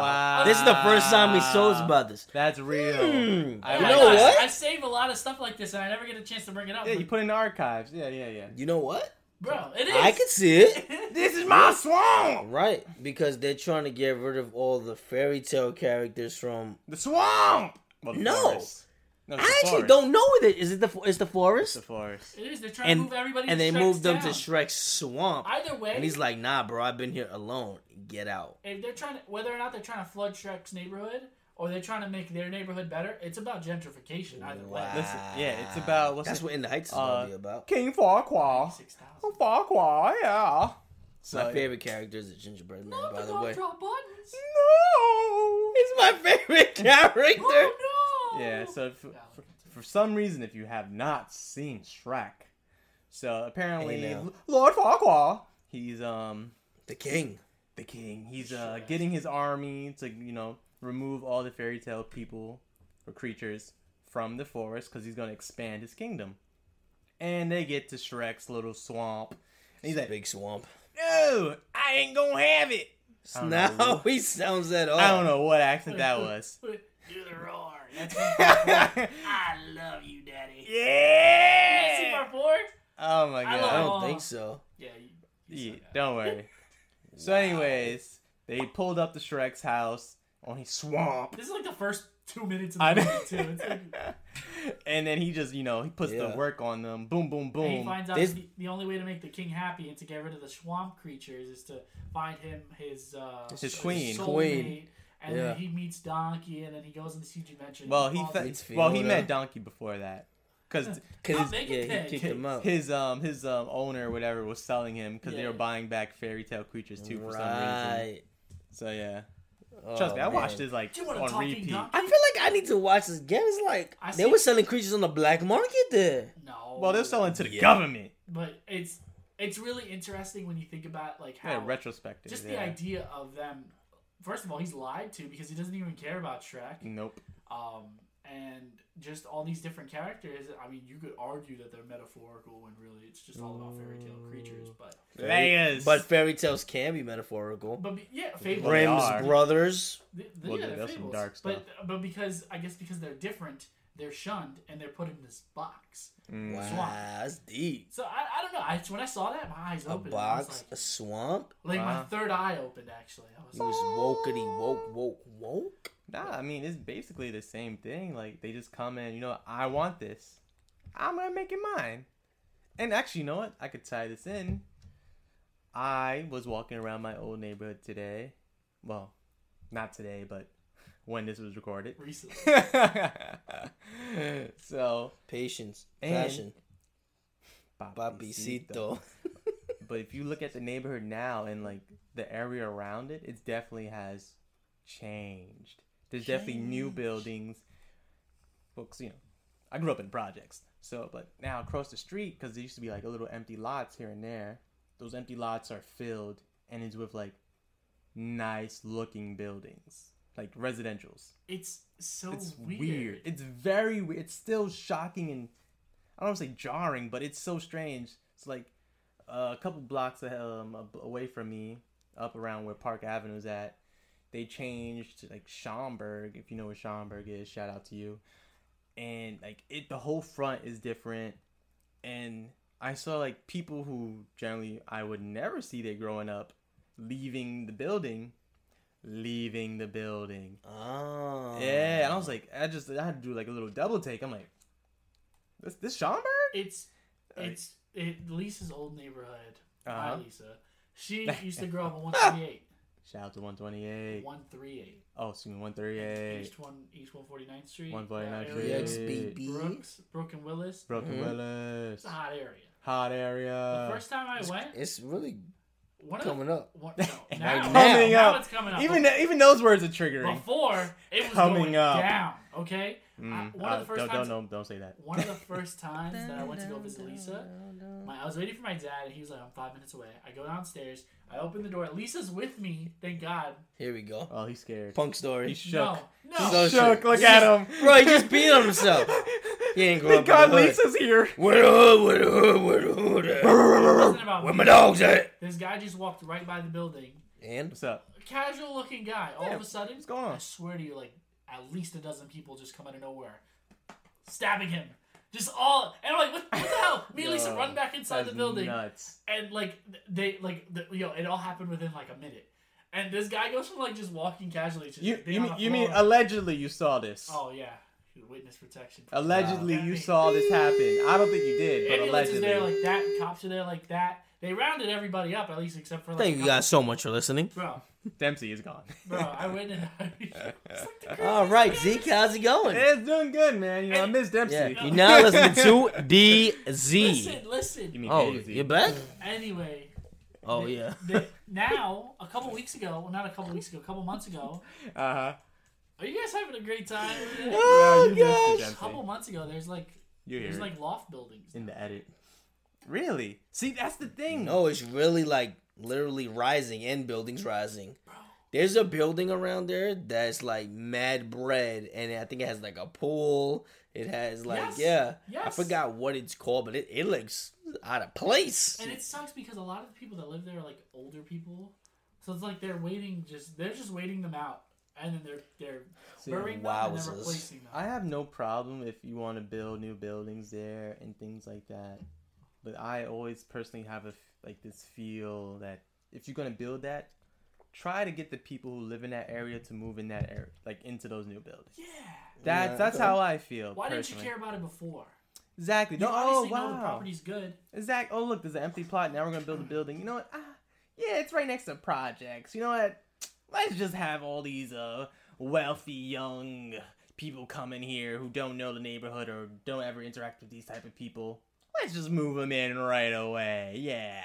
Speaker 4: Wow.
Speaker 2: This is the first time we shows about this.
Speaker 4: That's real. I
Speaker 1: Yeah,
Speaker 2: You
Speaker 1: I
Speaker 2: know
Speaker 1: I-
Speaker 2: what?
Speaker 1: I save a lot of stuff like this, and I never get a chance to bring it up.
Speaker 4: Yeah,
Speaker 1: but-
Speaker 4: you put it in the archives. Yeah, yeah, yeah.
Speaker 2: You know what?
Speaker 1: bro, it is.
Speaker 2: I can see it.
Speaker 4: This is my swamp.
Speaker 2: Right, because they're trying to get rid of all the fairy tale characters from.
Speaker 4: The swamp. Well, the
Speaker 2: No.
Speaker 4: forest. no it's
Speaker 2: I
Speaker 4: the
Speaker 2: actually
Speaker 4: forest.
Speaker 2: don't know what it is. Is it the it's the
Speaker 4: It's
Speaker 2: forest?
Speaker 4: the forest.
Speaker 1: It is. They're trying to
Speaker 2: And
Speaker 1: move everybody.
Speaker 2: and
Speaker 1: to
Speaker 2: they
Speaker 1: Shrek's
Speaker 2: moved them to
Speaker 1: town.
Speaker 2: Shrek's swamp.
Speaker 1: Either way,
Speaker 2: And he's like, "Nah, bro, I've been here alone. Get out."
Speaker 1: if they're trying to, whether or not they're trying to flood Shrek's neighborhood or they're trying to make their neighborhood better, it's about gentrification. Either way,
Speaker 4: Listen, yeah, it's about what's
Speaker 2: That's
Speaker 4: it-
Speaker 2: what In the Heights is
Speaker 4: uh,
Speaker 2: gonna be about.
Speaker 4: King
Speaker 2: Oh,
Speaker 4: Farquaar.
Speaker 1: six thousand.
Speaker 4: Farquaar, yeah.
Speaker 2: My
Speaker 4: so-
Speaker 2: favorite character is the Gingerbread Man, by the way. Mm.
Speaker 1: drop buttons.
Speaker 4: No.
Speaker 2: He's my favorite character.
Speaker 1: Oh no!
Speaker 4: Yeah, so if,
Speaker 1: Yeah,
Speaker 4: for, for some reason, if you have not seen Shrek, so apparently
Speaker 2: Hey, now.
Speaker 4: L- Lord Farquaad, he's um
Speaker 2: The king.
Speaker 4: the king. He's uh getting his army to you know remove all the fairy tale people or creatures from the forest because he's gonna expand his kingdom. And they get to Shrek's little swamp, and he's like,
Speaker 2: Big swamp.
Speaker 4: "No, I ain't gonna have it." I don't
Speaker 2: Now
Speaker 4: know.
Speaker 2: he sounds that off.
Speaker 4: I don't know what accent that was.
Speaker 1: Do the roar. That's
Speaker 4: yeah.
Speaker 1: I love you, Daddy. Super four.
Speaker 4: Oh my god.
Speaker 1: love
Speaker 2: I don't
Speaker 1: Oh.
Speaker 2: think so.
Speaker 1: Yeah, you-
Speaker 4: Yeah, don't worry. So, anyways, they pulled up to Shrek's house on his swamp,
Speaker 1: this is like the first two minutes
Speaker 4: I
Speaker 1: of the
Speaker 4: know.
Speaker 1: movie too. It's like,
Speaker 4: and then he just, you know, he puts
Speaker 2: Yeah.
Speaker 4: the work on them. Boom, boom,
Speaker 1: and he
Speaker 4: boom.
Speaker 1: finds out
Speaker 2: This-
Speaker 1: the, the only way to make the king happy and to get rid of the swamp creatures is to find him his uh,
Speaker 4: His queen.
Speaker 1: soulmate,
Speaker 2: Queen.
Speaker 1: and
Speaker 2: Yeah.
Speaker 1: then he meets Donkey, and then he goes on this huge adventure. and
Speaker 4: Well, he
Speaker 1: falls in-
Speaker 4: th-
Speaker 2: It's
Speaker 4: well he
Speaker 2: Fiona.
Speaker 4: met Donkey before that, because
Speaker 2: Cause
Speaker 1: Not
Speaker 2: he's-
Speaker 1: Megan Thee.
Speaker 2: yeah, he kicked him out.
Speaker 4: his um his um owner or whatever was selling him because they
Speaker 1: Yeah.
Speaker 4: were buying back fairy tale creatures too for some reason.
Speaker 2: Right.
Speaker 4: So yeah, trust
Speaker 2: Oh,
Speaker 4: me, I watched
Speaker 2: man.
Speaker 4: this like
Speaker 1: Do you want a
Speaker 4: on
Speaker 1: talking
Speaker 4: repeat.
Speaker 1: donkey?
Speaker 2: I feel like I need to watch this again. It's like
Speaker 1: I
Speaker 2: they
Speaker 1: see-
Speaker 2: were selling creatures on the black market there.
Speaker 1: no.
Speaker 4: Well, they're selling to the government.
Speaker 1: but it's it's really interesting when you think about like how
Speaker 4: Yeah, retrospective.
Speaker 1: just the
Speaker 4: yeah.
Speaker 1: idea of them. First of all, he's lied to because he doesn't even care about Shrek.
Speaker 4: Nope.
Speaker 1: um, and just all these different characters. I mean, you could argue that they're metaphorical when really it's just all about fairy tale creatures. But
Speaker 4: Layers.
Speaker 2: But fairy tales can be metaphorical.
Speaker 1: but be- yeah, fables.
Speaker 4: Well, they
Speaker 2: Grimm's
Speaker 4: are.
Speaker 2: brothers.
Speaker 1: Th- th- yeah,
Speaker 4: Well, dude,
Speaker 1: they're
Speaker 4: that's some
Speaker 1: fables.
Speaker 4: dark
Speaker 1: But but because I guess because they're different, they're shunned and they're put in this box.
Speaker 4: Mm.
Speaker 2: Wow,
Speaker 1: Swamp.
Speaker 2: that's deep.
Speaker 1: So I, I don't know. I, it's when I saw that, my eyes
Speaker 2: A
Speaker 1: opened. and I was
Speaker 2: box, a swamp.
Speaker 1: like, like my
Speaker 4: Wow.
Speaker 1: third eye opened. Actually, I was
Speaker 2: He was
Speaker 1: like,
Speaker 2: wokety woke woke woke.
Speaker 4: Nah, I mean it's basically the same thing. Like they just come in, you know, I want this. I'm gonna make it mine. And actually, you know what? I could tie this in. I was walking around my old neighborhood today. Well, not today, but when this was recorded.
Speaker 1: recently.
Speaker 4: so,
Speaker 2: Patience,
Speaker 4: And-
Speaker 2: passion, papicito.
Speaker 4: But if you look at the neighborhood now and like the area around it, it definitely has changed. There's definitely new buildings. Folks, you know, I grew up in projects, so but now across the street because there used to be like a little empty lots here and there. Those empty lots are filled and it's with like nice looking buildings, like residentials.
Speaker 1: It's so
Speaker 4: It's
Speaker 1: weird.
Speaker 4: weird. It's very weird. It's still shocking and I don't want to say jarring, but it's so strange. It's like uh, a couple blocks um, ab- away from me, up around where Park Avenue's at. They changed to like Schaumburg, if you know where Schaumburg is. Shout out to you. And like it, the whole front is different. And I saw like people who generally I would never see there growing up, leaving the building, leaving the building.
Speaker 2: Ah,
Speaker 4: Yeah, and I was like, I just I had to do like a little double take. I'm like, this this Schaumburg?
Speaker 1: It's
Speaker 2: Uh,
Speaker 1: it's it, Lisa's old neighborhood. Hi,
Speaker 4: Uh-huh.
Speaker 1: Lisa. She used to grow up on 138.
Speaker 4: Shout out to 128.
Speaker 1: 138.
Speaker 4: Oh, excuse me,
Speaker 1: East
Speaker 4: 138.
Speaker 1: one, East 149th Street.
Speaker 4: 149th
Speaker 1: that area.
Speaker 4: Street.
Speaker 2: XBB.
Speaker 1: Brooks, Brooke and Willis.
Speaker 4: Broken Willis.
Speaker 1: It's a hot area.
Speaker 4: Hot
Speaker 1: The
Speaker 4: area.
Speaker 1: first time I went,
Speaker 2: It's really
Speaker 1: one
Speaker 2: coming
Speaker 1: of,
Speaker 2: up.
Speaker 1: the- One, no, now,
Speaker 2: Right
Speaker 1: now,
Speaker 4: coming up.
Speaker 1: it's coming up.
Speaker 4: Even
Speaker 1: But
Speaker 4: th- even those words are triggering.
Speaker 1: before it was
Speaker 4: Coming
Speaker 1: going
Speaker 4: up.
Speaker 1: down. Okay.
Speaker 2: Hmm,
Speaker 1: I,
Speaker 4: Mm,
Speaker 1: one of
Speaker 4: uh,
Speaker 1: the first
Speaker 4: don't,
Speaker 1: times.
Speaker 4: don't, don't, don't say that.
Speaker 1: One of the first times that I went to go visit Lisa, my, I was waiting for my dad, and he was like, "I'm five minutes away." I go downstairs. I open the door. Lisa's with me. Thank God.
Speaker 2: Here we go.
Speaker 4: Oh, he's scared.
Speaker 2: Punk story.
Speaker 4: He's shook.
Speaker 1: No, no.
Speaker 2: So
Speaker 4: shook.
Speaker 2: shook.
Speaker 4: Look
Speaker 2: He's
Speaker 4: at
Speaker 2: just-
Speaker 4: him.
Speaker 2: Bro, he just peed on himself. He ain't grow
Speaker 4: Thank
Speaker 2: up in the
Speaker 4: God
Speaker 2: hood.
Speaker 4: Lisa's here.
Speaker 2: Where the hood? Where the hood? Where the hood? at?
Speaker 1: Wasn't about
Speaker 2: Where
Speaker 1: me.
Speaker 2: my dogs at?
Speaker 1: This guy just walked right by the building.
Speaker 2: And
Speaker 4: What's up?
Speaker 1: Casual looking guy. All
Speaker 4: Yeah,
Speaker 1: of a sudden,
Speaker 4: what's going on?
Speaker 1: I swear to you, like at least a dozen people just come out of nowhere, stabbing him. Just all, and I'm like, what, what the hell? Me and Lisa
Speaker 4: Yo,
Speaker 1: run back inside the
Speaker 4: That's
Speaker 1: building,
Speaker 4: Nuts.
Speaker 1: and like th- they like the, yo, it all happened within like a minute. And this guy goes from like just walking casually to
Speaker 4: You
Speaker 1: just being
Speaker 4: you
Speaker 1: on
Speaker 4: mean,
Speaker 1: the
Speaker 4: you mean
Speaker 1: floor.
Speaker 4: allegedly you saw this?
Speaker 1: oh yeah, witness protection.
Speaker 4: Allegedly,
Speaker 1: Yeah, I
Speaker 4: you
Speaker 1: mean-
Speaker 4: saw this happen. I don't think you did, but
Speaker 1: Ambulance is
Speaker 4: allegedly.
Speaker 1: there like that. Cops are there like that. They rounded everybody up at least except for like
Speaker 2: thank you guys so much for listening.
Speaker 1: bro,
Speaker 4: Dempsey is gone.
Speaker 1: bro. I went in. it's like the
Speaker 2: All right, Zeke, how's it going?
Speaker 4: it's doing good, man. You know, I miss Dempsey.
Speaker 2: Yeah, you're now listening to DZ.
Speaker 1: Listen, listen.
Speaker 4: You mean
Speaker 2: Oh,
Speaker 4: Daisy.
Speaker 2: you're back?
Speaker 1: Anyway,
Speaker 2: Oh yeah.
Speaker 1: the, now a couple weeks ago, well, not a couple weeks ago, a couple months ago.
Speaker 4: Uh-huh.
Speaker 1: Are you guys having a great time?
Speaker 4: Oh, you
Speaker 2: gosh.
Speaker 4: missed
Speaker 1: a
Speaker 4: it,
Speaker 1: couple
Speaker 4: Dempsey.
Speaker 1: months ago, there's like
Speaker 4: You hear
Speaker 1: there's
Speaker 4: it.
Speaker 1: like loft buildings.
Speaker 4: in the edit. Really? See, that's the thing.
Speaker 2: No, Oh, it's really like literally rising and buildings rising. There's a building around there that's like mad bread, and I think it has like a pool. It has like
Speaker 1: Yes,
Speaker 2: yeah, I
Speaker 1: yes.
Speaker 2: forgot what it's called, but it, it looks out of place.
Speaker 1: And it sucks because a lot of the people that live there are like older people, so it's like they're waiting just they're just waiting them out, and then they're they're burying them and then
Speaker 2: wowzers.
Speaker 1: replacing them.
Speaker 4: I have no problem if you want to build new buildings there and things like that. But I always personally have a f- like this feel that if you're gonna build that, try to get the people who live in that area to move in that area, like into those new buildings.
Speaker 1: Yeah.
Speaker 4: That's that's how I feel.
Speaker 1: Why didn't you
Speaker 4: personally.
Speaker 1: care about it before?
Speaker 4: Exactly.
Speaker 1: You
Speaker 4: No, oh
Speaker 1: obviously know the
Speaker 4: wow.
Speaker 1: property's good.
Speaker 4: Exactly. Oh look, there's an empty plot. Now we're gonna build a building. You know what? Ah, yeah, it's right next to projects. You know what? Let's just have all these uh wealthy young people come in here who don't know the neighborhood or don't ever interact with these type of people. Let's just move them in right away. Yeah.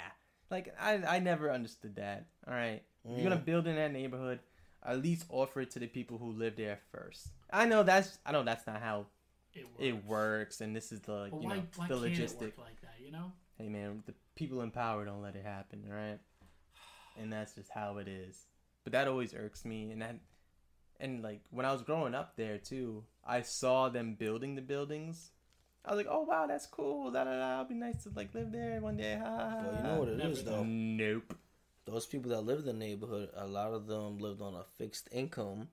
Speaker 4: Like I I never understood that. All right. If you're gonna
Speaker 1: Mm.
Speaker 4: build in that neighborhood, at least offer it to the people who live there first. I know that's I know that's not how
Speaker 1: It worked.
Speaker 4: it works, and this is the
Speaker 1: But
Speaker 4: you
Speaker 1: why,
Speaker 4: know
Speaker 1: why
Speaker 4: the
Speaker 1: can't it
Speaker 4: logistic.
Speaker 1: work like that, you know?
Speaker 4: Hey man, the people in power don't let it happen, all right? And that's just how it is. But that always irks me and that and like when I was growing up there too, I saw them building the buildings. I was like, "Oh wow, that's cool. Da da da. It'll be nice to like live there one day." Ha, ha, ha.
Speaker 2: Well, you know what it is though.
Speaker 4: Nope.
Speaker 2: Those people that live in the neighborhood, a lot of them lived on a fixed income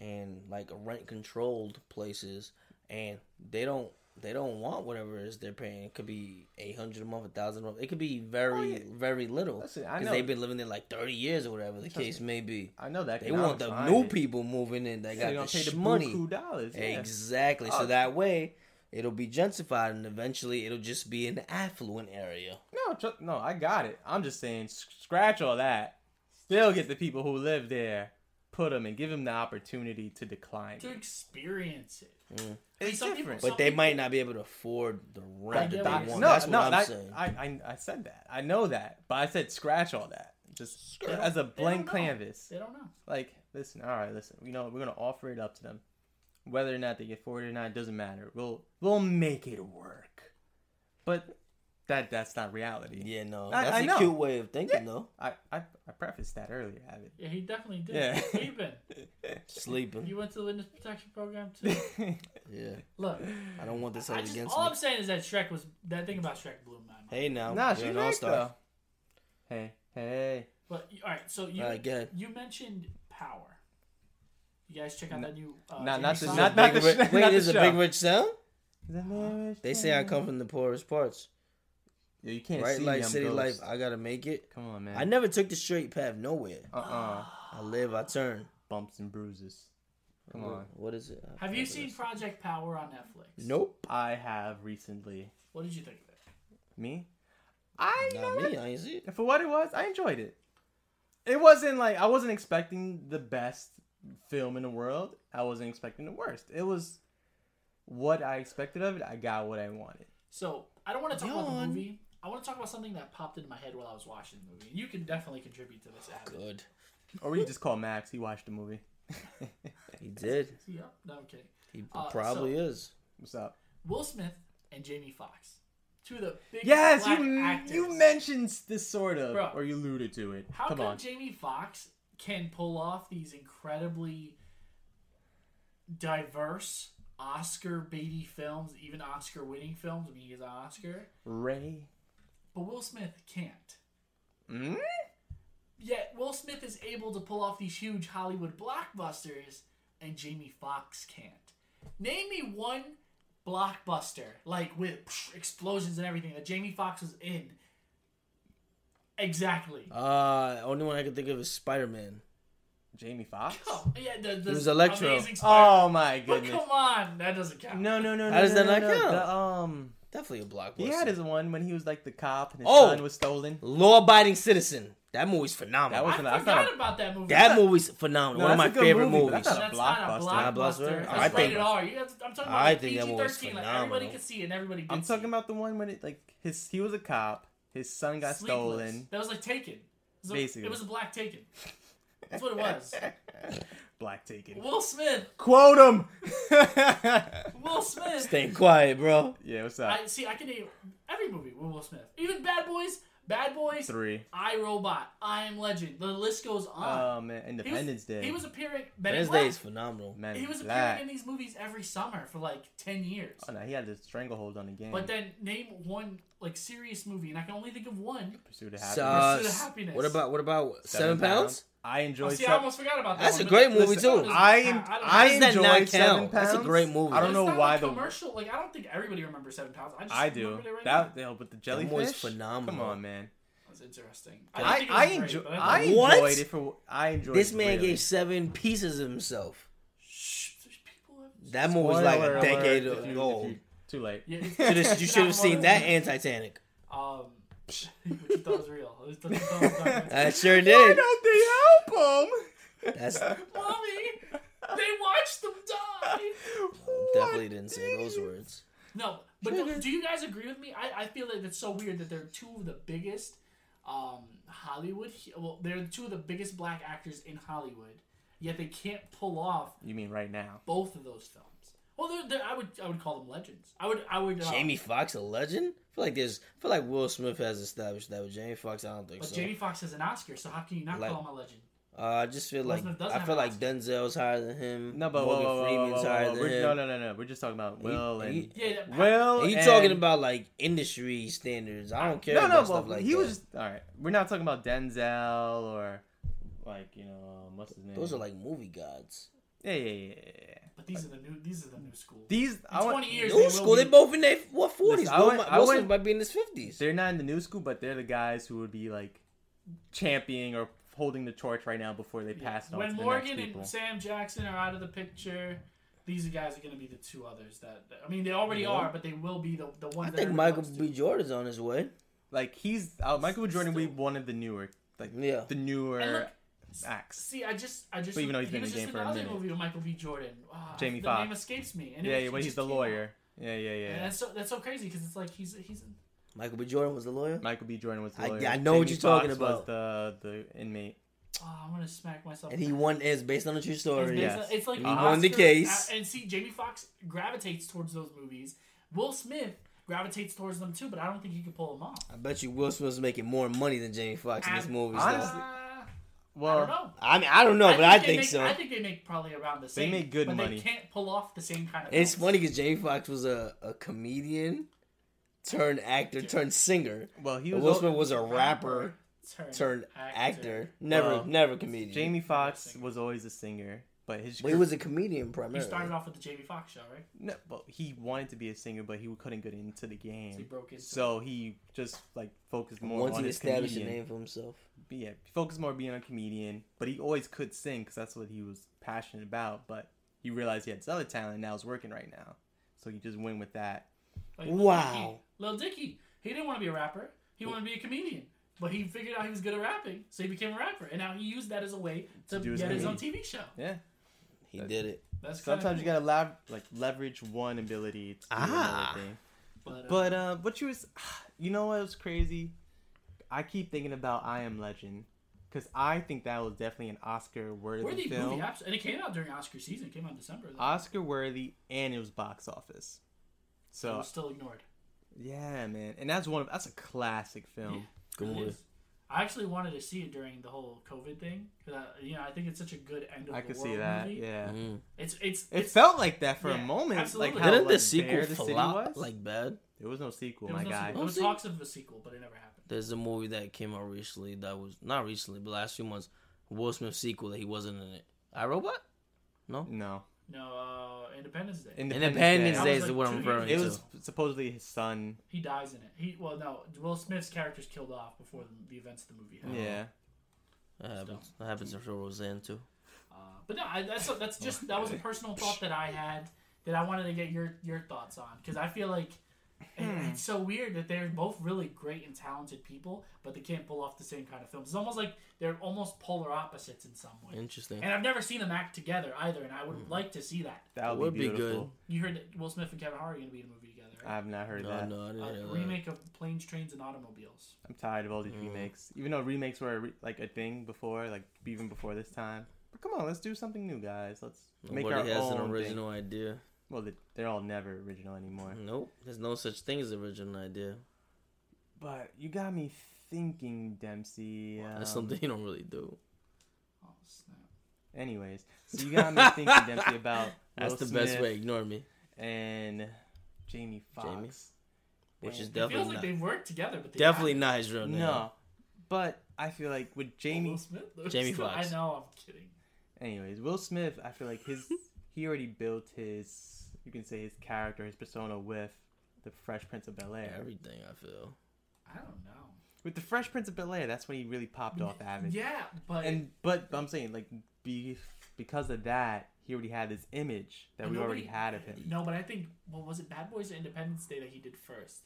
Speaker 2: and like rent controlled places, and they don't they don't want whatever it is they're paying. It could be eight hundred a month, a thousand a month. It could be very very little
Speaker 4: Oh, Listen, I
Speaker 2: because
Speaker 4: know-
Speaker 2: they've been living there like thirty years or whatever the case may be.
Speaker 4: I know that.
Speaker 2: They want
Speaker 4: economics
Speaker 2: the
Speaker 4: behind
Speaker 2: new
Speaker 4: it.
Speaker 2: people moving in that
Speaker 4: So
Speaker 2: got
Speaker 4: they
Speaker 2: the,
Speaker 4: don't pay
Speaker 2: sh-
Speaker 4: the
Speaker 2: money.
Speaker 4: buku dollars. Yeah.
Speaker 2: Exactly.
Speaker 4: Oh.
Speaker 2: So that way, it'll be gentrified, and eventually, it'll just be an affluent area.
Speaker 4: No, tr- no, I got it. I'm just saying, s- scratch all that. Still get the people who live there, put them, and give them the opportunity to decline.
Speaker 1: To experience it. I mean,
Speaker 4: It's
Speaker 1: some people-
Speaker 4: different.
Speaker 1: some
Speaker 2: But they
Speaker 1: people-
Speaker 2: might not be able to afford the rent
Speaker 1: get
Speaker 2: that
Speaker 1: what you're
Speaker 2: they want.
Speaker 1: saying.
Speaker 4: no,
Speaker 2: That's
Speaker 4: no,
Speaker 2: what I'm
Speaker 4: that-
Speaker 2: saying.
Speaker 4: I, I, I said that. I know that, but I said scratch all that. Just as a
Speaker 1: They don't
Speaker 4: blank
Speaker 1: know.
Speaker 4: canvas.
Speaker 1: They don't know.
Speaker 4: Like, listen, all right, listen. You know, we're gonna offer it up to them, whether or not they get forward or not. Doesn't matter. We'll we'll make it work. But that that's not reality.
Speaker 2: yeah, no,
Speaker 4: I-
Speaker 2: that's a
Speaker 4: I know.
Speaker 2: cute way of thinking, though.
Speaker 4: I I, I prefaced that earlier, haven't.
Speaker 1: Yeah, he definitely did.
Speaker 4: Yeah.
Speaker 1: Where you been?
Speaker 2: Sleeping.
Speaker 1: You went to the witness protection program too.
Speaker 2: Yeah,
Speaker 1: Look,
Speaker 2: I don't want this
Speaker 1: I
Speaker 2: held
Speaker 1: just,
Speaker 2: against
Speaker 1: all
Speaker 2: me.
Speaker 1: I'm saying is that Shrek was that thing about Shrek blew my mind.
Speaker 2: Hey, now,
Speaker 4: Nah,
Speaker 2: you're
Speaker 4: she's
Speaker 2: an
Speaker 4: right
Speaker 2: all-star.
Speaker 4: though. Hey, hey.
Speaker 1: But all right, so you
Speaker 2: All right, go ahead.
Speaker 1: you mentioned power. You guys check out that new. Uh,
Speaker 4: Not-
Speaker 1: Jamie
Speaker 4: not the-
Speaker 1: Foxx-
Speaker 4: not-
Speaker 2: Big
Speaker 4: the
Speaker 2: Ri- Wait,
Speaker 4: sh- not the
Speaker 2: there's a big
Speaker 4: show.
Speaker 2: rich sound.
Speaker 4: The marriage.
Speaker 2: They say I come from the poorest parts,
Speaker 4: Yo, you can't
Speaker 2: right?
Speaker 4: see
Speaker 2: Like
Speaker 4: me. I'm
Speaker 2: city life,
Speaker 4: ghost.
Speaker 2: I gotta make it.
Speaker 4: Come on, man.
Speaker 2: I never took the straight path nowhere.
Speaker 4: Uh uh
Speaker 2: I live, I turn.
Speaker 4: Bumps and bruises. Come on.
Speaker 2: What is it?
Speaker 1: Have you seen Project Power on Netflix?
Speaker 2: Nope.
Speaker 4: I have recently.
Speaker 1: What did you think of it?
Speaker 4: Me? I you know
Speaker 2: Not me. I ain't see it.
Speaker 4: what? For what it was, I enjoyed it. It wasn't like I wasn't expecting the best film in the world. I wasn't expecting the worst. It was what I expected of it. I got what I wanted.
Speaker 1: So I don't want to talk about the
Speaker 2: Yawn.
Speaker 1: movie. I want to talk about something that popped into my head while I was watching the movie. And you can definitely contribute to this. Adam.
Speaker 2: Good.
Speaker 4: Or we could just call Max. He watched the movie.
Speaker 2: He did.
Speaker 1: Yeah, no, I'm kidding.
Speaker 2: He
Speaker 1: Uh,
Speaker 2: probably
Speaker 1: so-
Speaker 2: is.
Speaker 4: What's up?
Speaker 1: Will Smith and Jamie Foxx, two of the biggest
Speaker 4: Yes,
Speaker 1: black
Speaker 4: you
Speaker 1: actors.
Speaker 4: you mentioned this sort of,
Speaker 1: Bro.
Speaker 4: or you alluded to it.
Speaker 1: How
Speaker 4: Come
Speaker 1: come
Speaker 4: on.
Speaker 1: Jamie Foxx can pull off these incredibly diverse Oscar baity films, even Oscar winning films? I mean, he is an Oscar,
Speaker 4: Ray.
Speaker 1: but Will Smith can't.
Speaker 4: Mm?
Speaker 1: Yet Will Smith is able to pull off these huge Hollywood blockbusters, and Jamie Foxx can't. Name me one blockbuster like with psh, explosions and everything that Jamie Foxx was in. Exactly.
Speaker 2: Uh, only one I can think of is Spider Man.
Speaker 4: Jamie Foxx?
Speaker 1: Oh, yeah, the, the
Speaker 2: It was Electro.
Speaker 1: amazing Spider-Man.
Speaker 4: Oh my
Speaker 1: But
Speaker 4: goodness.
Speaker 1: come on, that doesn't count.
Speaker 4: No, no, no, no.
Speaker 2: How does
Speaker 4: no,
Speaker 2: that
Speaker 4: no,
Speaker 2: not
Speaker 4: no.
Speaker 2: count?
Speaker 4: The, um,
Speaker 2: Definitely a blockbuster.
Speaker 4: he had his one when he was like the cop and his
Speaker 2: Oh!
Speaker 4: son was stolen.
Speaker 2: Law Abiding Citizen. That movie's phenomenal.
Speaker 4: That
Speaker 1: I
Speaker 4: was-
Speaker 1: forgot
Speaker 4: that's not a-
Speaker 1: about that movie.
Speaker 2: That movie's phenomenal.
Speaker 4: No,
Speaker 2: one of my
Speaker 4: that's a good
Speaker 2: favorite
Speaker 4: movie, but
Speaker 2: movies.
Speaker 4: that's
Speaker 1: That's not a
Speaker 2: Not a
Speaker 1: blockbuster.
Speaker 2: blockbuster?
Speaker 1: That's
Speaker 2: I think-
Speaker 1: rated R. You guys, I'm talking about
Speaker 2: I
Speaker 1: like
Speaker 2: think that one was
Speaker 1: PG-13. Like everybody
Speaker 2: phenomenal.
Speaker 1: could see and everybody. Did
Speaker 4: I'm talking
Speaker 1: see.
Speaker 4: about the one when it like his he was a cop, his son got
Speaker 1: Sleepless.
Speaker 4: stolen.
Speaker 1: That was like Taken. It was a-
Speaker 4: Basically.
Speaker 1: it was a black Taken. That's what it was.
Speaker 4: Black taken.
Speaker 1: Will Smith.
Speaker 4: Quote him.
Speaker 1: Will Smith.
Speaker 2: Stay quiet, bro.
Speaker 4: yeah, what's up?
Speaker 1: I see. I can name every movie with Will Smith. Even Bad Boys. Bad Boys.
Speaker 4: Three.
Speaker 1: I Robot. I Am Legend. The list goes on.
Speaker 4: Oh man,
Speaker 1: He was-
Speaker 4: Independence Day.
Speaker 1: He was appearing. Men in
Speaker 2: Wednesday
Speaker 1: Black.
Speaker 2: is phenomenal.
Speaker 4: Man,
Speaker 1: He was
Speaker 4: black.
Speaker 1: appearing in these movies every summer for like ten years.
Speaker 4: Oh no, he had this stranglehold on the game.
Speaker 1: But then name one like serious movie, and I can only think of one.
Speaker 4: Pursuit of
Speaker 2: So,
Speaker 4: happiness.
Speaker 2: uh,
Speaker 1: Pursuit of Happiness.
Speaker 2: what about what about seven,
Speaker 4: Seven
Speaker 2: pounds?
Speaker 4: I enjoy.
Speaker 1: Oh, see, I
Speaker 4: seven-
Speaker 1: almost forgot about that.
Speaker 2: That's
Speaker 1: one,
Speaker 2: a
Speaker 1: but
Speaker 2: great movie,
Speaker 1: listen,
Speaker 2: too.
Speaker 1: that
Speaker 4: I
Speaker 1: doesn't
Speaker 4: en-
Speaker 1: count. I
Speaker 4: I
Speaker 1: don't-
Speaker 2: How does that
Speaker 4: enjoy
Speaker 2: not
Speaker 4: Seven
Speaker 2: count? That's a
Speaker 4: Pounds.
Speaker 2: great movie.
Speaker 4: I don't know
Speaker 1: It's not
Speaker 4: why
Speaker 1: like
Speaker 4: the
Speaker 1: commercial. Like I don't think everybody remembers Seven Pounds. I, just
Speaker 4: I do
Speaker 1: remembered It right
Speaker 4: that.
Speaker 1: now.
Speaker 4: Yeah, but the
Speaker 2: movie's
Speaker 4: jellyfish
Speaker 2: phenomenal.
Speaker 4: Come on, man.
Speaker 1: That's interesting.
Speaker 4: I
Speaker 1: didn't
Speaker 4: I
Speaker 1: think it was
Speaker 4: enjoy.
Speaker 1: great, but
Speaker 4: I
Speaker 1: thought-
Speaker 4: enjoyed
Speaker 2: What?
Speaker 4: it for. I enjoyed.
Speaker 2: This
Speaker 4: it,
Speaker 2: man
Speaker 4: really.
Speaker 2: gave seven pieces of himself.
Speaker 1: Shh, there's people. that-
Speaker 2: That movie was like
Speaker 4: Spoiler
Speaker 2: a
Speaker 4: alert,
Speaker 2: decade
Speaker 4: if you- if
Speaker 2: old.
Speaker 4: you- Too late.
Speaker 1: Yeah, it's-
Speaker 2: Shoulda- you
Speaker 1: it's
Speaker 2: should
Speaker 1: not
Speaker 2: have seen
Speaker 1: one-
Speaker 2: that and Titanic.
Speaker 1: Um, which you thought was real. It was- that you thought was not real.
Speaker 2: I sure did.
Speaker 4: don't they help him?
Speaker 2: That's
Speaker 1: Mommy, they watched them die.
Speaker 2: definitely didn't say those words.
Speaker 1: No, but do, do you guys agree with me? I, I feel like it's so weird that they're two of the biggest um, Hollywood. he- Well, they're two of the biggest black actors in Hollywood, yet they can't pull off
Speaker 4: You mean right now?
Speaker 1: both of those films. Well, they're, they're, I would I would call them legends. I would I would. Uh,
Speaker 2: Jamie Foxx a legend? I feel like there's I feel like Will Smith has established that with Jamie Foxx. I don't think
Speaker 1: but
Speaker 2: so.
Speaker 1: Jamie Foxx has an Oscar, so how can you not
Speaker 2: Like-
Speaker 1: call him a legend?
Speaker 2: uh, I just feel like
Speaker 1: Smith does
Speaker 2: I
Speaker 1: have
Speaker 2: feel
Speaker 1: an
Speaker 2: like
Speaker 1: Oscar.
Speaker 2: Denzel's higher than him.
Speaker 4: No, but
Speaker 2: Morgan
Speaker 4: whoa, whoa, whoa, whoa,
Speaker 2: Freeman's
Speaker 4: whoa,
Speaker 2: higher
Speaker 4: whoa.
Speaker 2: than
Speaker 4: We're,
Speaker 2: him.
Speaker 4: no, no, no, no. We're just talking about Will and
Speaker 2: he-
Speaker 1: Yeah, that-
Speaker 4: Will.
Speaker 2: Are you
Speaker 4: and-
Speaker 2: talking about like industry standards? I don't care.
Speaker 4: No, no,
Speaker 2: about stuff
Speaker 4: but
Speaker 2: like
Speaker 4: he
Speaker 2: that.
Speaker 4: was just all right. We're not talking about Denzel or like you know um, what's his name.
Speaker 2: Those are like movie gods.
Speaker 4: yeah, yeah, yeah. yeah, yeah.
Speaker 1: But these are the new these are the new school.
Speaker 4: These
Speaker 1: in
Speaker 4: I want,
Speaker 1: twenty years.
Speaker 2: New
Speaker 1: will
Speaker 2: school.
Speaker 1: be-
Speaker 2: They both in their what forties.
Speaker 4: Listen, I
Speaker 2: Will
Speaker 4: went- I
Speaker 2: Smith
Speaker 4: went-
Speaker 2: might be in his fifties.
Speaker 4: They're not in the new school, but they're the guys who would be like championing or holding the torch right now before they pass it on
Speaker 1: when
Speaker 4: to the
Speaker 1: Morgan
Speaker 4: next people.
Speaker 1: and Sam Jackson are out of the picture, these guys are going to be the two others that that- I mean they already are, but they will be the the one.
Speaker 2: I
Speaker 1: that
Speaker 2: think
Speaker 1: everyone
Speaker 2: Michael
Speaker 1: looks
Speaker 2: B.
Speaker 1: to.
Speaker 2: Jordan's on his way.
Speaker 4: like he's uh, Michael Jordan would be one of the newer, like
Speaker 2: Yeah.
Speaker 4: the newer
Speaker 1: And look,
Speaker 4: acts.
Speaker 1: See, I just, I just,
Speaker 4: But even though he's
Speaker 1: he
Speaker 4: been
Speaker 1: was
Speaker 4: in the
Speaker 1: just
Speaker 4: game for a
Speaker 1: another
Speaker 4: minute.
Speaker 1: movie with Michael B. Jordan. Ah,
Speaker 4: Jamie
Speaker 1: the
Speaker 4: Foxx.
Speaker 1: name escapes me. And it
Speaker 4: Yeah,
Speaker 1: was-
Speaker 4: yeah,
Speaker 1: it
Speaker 4: when he's
Speaker 1: just
Speaker 4: the
Speaker 1: came out.
Speaker 4: lawyer. Yeah, yeah, yeah.
Speaker 1: And that's so that's so crazy because it's like he's he's
Speaker 2: Michael B. Jordan was the lawyer.
Speaker 4: Michael B. Jordan was the
Speaker 2: I-
Speaker 4: lawyer.
Speaker 2: I know what
Speaker 4: Jamie
Speaker 2: you're talking
Speaker 4: Foxx
Speaker 2: about.
Speaker 4: Was the the inmate.
Speaker 1: oh, I'm gonna smack myself.
Speaker 2: And he won is based on a true
Speaker 1: It's,
Speaker 2: story.
Speaker 1: based
Speaker 4: Yeah.
Speaker 1: on-
Speaker 4: Yes.
Speaker 1: it's like
Speaker 2: He
Speaker 1: an
Speaker 2: won the
Speaker 1: Oscar-
Speaker 2: case.
Speaker 1: uh, And see, Jamie Foxx gravitates towards those movies. Will Smith gravitates towards them too, but I don't think he could pull them off.
Speaker 2: I bet you Will Smith's making more money than Jamie Foxx in this movie. so-
Speaker 4: honestly-
Speaker 1: Uh, I don't
Speaker 4: Well,
Speaker 1: know.
Speaker 2: I mean, I don't know, but I
Speaker 1: they
Speaker 2: think
Speaker 1: make,
Speaker 2: so.
Speaker 1: I think they make probably around the same.
Speaker 4: make good
Speaker 1: but
Speaker 4: money.
Speaker 1: They can't pull off the same kind of.
Speaker 2: it's
Speaker 1: films.
Speaker 2: funny because Jamie Foxx was a, a comedian turned actor turned singer.
Speaker 4: well, he
Speaker 2: But
Speaker 4: was.
Speaker 2: Will
Speaker 4: al-
Speaker 2: Smith was a rapper
Speaker 1: Turned,
Speaker 2: turned actor, never
Speaker 4: Well,
Speaker 2: never comedian.
Speaker 4: Jamie Foxx was always a singer, but his
Speaker 2: but he was a comedian
Speaker 1: He
Speaker 2: primarily.
Speaker 1: started off with the Jamie Foxx show, right?
Speaker 4: no, but he wanted to be a singer, but he couldn't get into the game.
Speaker 1: he broke into
Speaker 4: so he just like focused more
Speaker 2: Once
Speaker 4: on
Speaker 2: he
Speaker 4: his
Speaker 2: established
Speaker 4: comedian.
Speaker 2: a name for himself,
Speaker 4: yeah, focus more being a comedian, but he always could sing because that's what he was passionate about. But he realized he had this other talent, and now it's working right now. So he just went with that.
Speaker 1: Like,
Speaker 2: Wow.
Speaker 1: Lil Dicky, he didn't want to be a rapper. He wanted to be a comedian, but he figured out he was good at rapping, so he became a rapper, and now he used that as a way to
Speaker 4: do his
Speaker 1: get his own
Speaker 4: comedy.
Speaker 1: TV show.
Speaker 4: Yeah.
Speaker 2: he did it.
Speaker 1: That's kinda
Speaker 4: Sometimes you
Speaker 1: cool.
Speaker 4: gotta lav- like leverage one ability to do
Speaker 2: Ah.
Speaker 4: another thing.
Speaker 1: But, uh,
Speaker 4: But uh, what you was, you know what was crazy? I keep thinking about I Am Legend because I think that was definitely an Oscar worthy
Speaker 1: worthy movie,
Speaker 4: film,
Speaker 1: abs- and it came out during Oscar season. It came out in December. Though.
Speaker 4: Oscar worthy, and it was box office.
Speaker 1: it
Speaker 4: So
Speaker 1: was still ignored.
Speaker 4: yeah, man, and that's one of that's a classic film.
Speaker 2: Good
Speaker 1: It
Speaker 2: movie.
Speaker 1: is. I actually wanted to see it during the whole COVID thing because you know I think it's such a good end of
Speaker 4: I
Speaker 1: the
Speaker 4: could
Speaker 1: world
Speaker 4: see that.
Speaker 1: movie.
Speaker 4: Yeah.
Speaker 1: It's it's
Speaker 4: It
Speaker 1: it's,
Speaker 4: felt like that for
Speaker 1: yeah,
Speaker 4: a moment.
Speaker 1: absolutely.
Speaker 4: Like how,
Speaker 2: Mm. Didn't
Speaker 4: like,
Speaker 2: the sequel
Speaker 4: bare the city
Speaker 2: flop
Speaker 4: was.
Speaker 2: like bad?
Speaker 4: there was no sequel,
Speaker 1: there
Speaker 4: my
Speaker 1: was no
Speaker 4: guy.
Speaker 1: sequel. There was
Speaker 2: Oh, see.
Speaker 1: talks of a sequel, but it never happened.
Speaker 2: There's a movie that came out recently that was not recently, but last few months. Will Smith sequel that he wasn't in it. I Robot.
Speaker 4: No,
Speaker 1: No, uh, Independence Day.
Speaker 2: Independence
Speaker 1: That
Speaker 2: Day
Speaker 1: was
Speaker 2: is
Speaker 1: like
Speaker 2: what
Speaker 1: two
Speaker 2: I'm
Speaker 1: years
Speaker 2: referring
Speaker 1: ago.
Speaker 4: It
Speaker 2: to.
Speaker 4: was supposedly his son.
Speaker 1: he dies in it. He well, no, Will Smith's character's killed off before the, the events of the movie.
Speaker 2: Uh-huh.
Speaker 1: happen.
Speaker 4: Yeah.
Speaker 2: That happens. That happens after Roseanne too.
Speaker 1: Uh, but no, I, that's that's
Speaker 4: Oh,
Speaker 1: just that was a personal thought that I had that I wanted to get your your thoughts on because I feel like it-
Speaker 4: Hmm.
Speaker 1: it's so weird that they're both really great and talented people, but they can't pull off the same kind of films. It's almost like they're almost polar opposites in some way.
Speaker 2: Interesting.
Speaker 1: And I've never seen them act together either, and I would
Speaker 4: Hmm.
Speaker 1: like to see that.
Speaker 4: That would be, beautiful.
Speaker 1: You heard that Will Smith and Kevin Hart are going to be in a movie together,
Speaker 4: I
Speaker 1: right?
Speaker 4: have not heard
Speaker 2: No,
Speaker 4: that.
Speaker 2: no, I didn't hear
Speaker 1: a
Speaker 2: that. uh,
Speaker 1: remake of Planes, Trains, and Automobiles.
Speaker 4: I'm tired of all
Speaker 2: Mm.
Speaker 4: these remakes. Even though remakes were a re- like a thing before, like even before this time. But come on, let's do something new, guys. Let's make our
Speaker 2: Nobody has
Speaker 4: own
Speaker 2: an
Speaker 4: thing.
Speaker 2: original idea.
Speaker 4: Well, they- they're all never original anymore.
Speaker 2: Nope. There's no such thing as original idea.
Speaker 4: But you got me thinking, Dempsey. Um,
Speaker 2: That's something you don't really do.
Speaker 1: Oh snap!
Speaker 4: Anyways, so you got me thinking, Dempsey, about
Speaker 2: That's
Speaker 4: Will
Speaker 2: the best
Speaker 4: Smith
Speaker 2: way. Ignore me.
Speaker 4: and
Speaker 2: Jamie?
Speaker 4: Jamie Foxx.
Speaker 2: Which is
Speaker 1: It feels
Speaker 2: definitely
Speaker 1: like
Speaker 2: not.
Speaker 1: they've worked together, but they
Speaker 2: Oh, Definitely not his real name.
Speaker 4: No, but I feel like with
Speaker 1: Will
Speaker 4: Jamie.
Speaker 1: Smith, though.
Speaker 2: Jamie
Speaker 1: I
Speaker 2: Foxx.
Speaker 1: know. I'm kidding.
Speaker 4: Anyways, Will Smith, I feel like his he already built his you can say his character, his persona with the Fresh Prince of Bel Air.
Speaker 2: Everything I feel.
Speaker 1: I don't know.
Speaker 4: With the Fresh Prince of Bel Air, that's when he really popped off avid.
Speaker 1: Yeah, but
Speaker 4: And but I'm saying like be, because of that, he already had this image that we
Speaker 1: nobody-
Speaker 4: already had of him.
Speaker 1: No, but I think what was it, Bad Boys or Independence Day that he did first?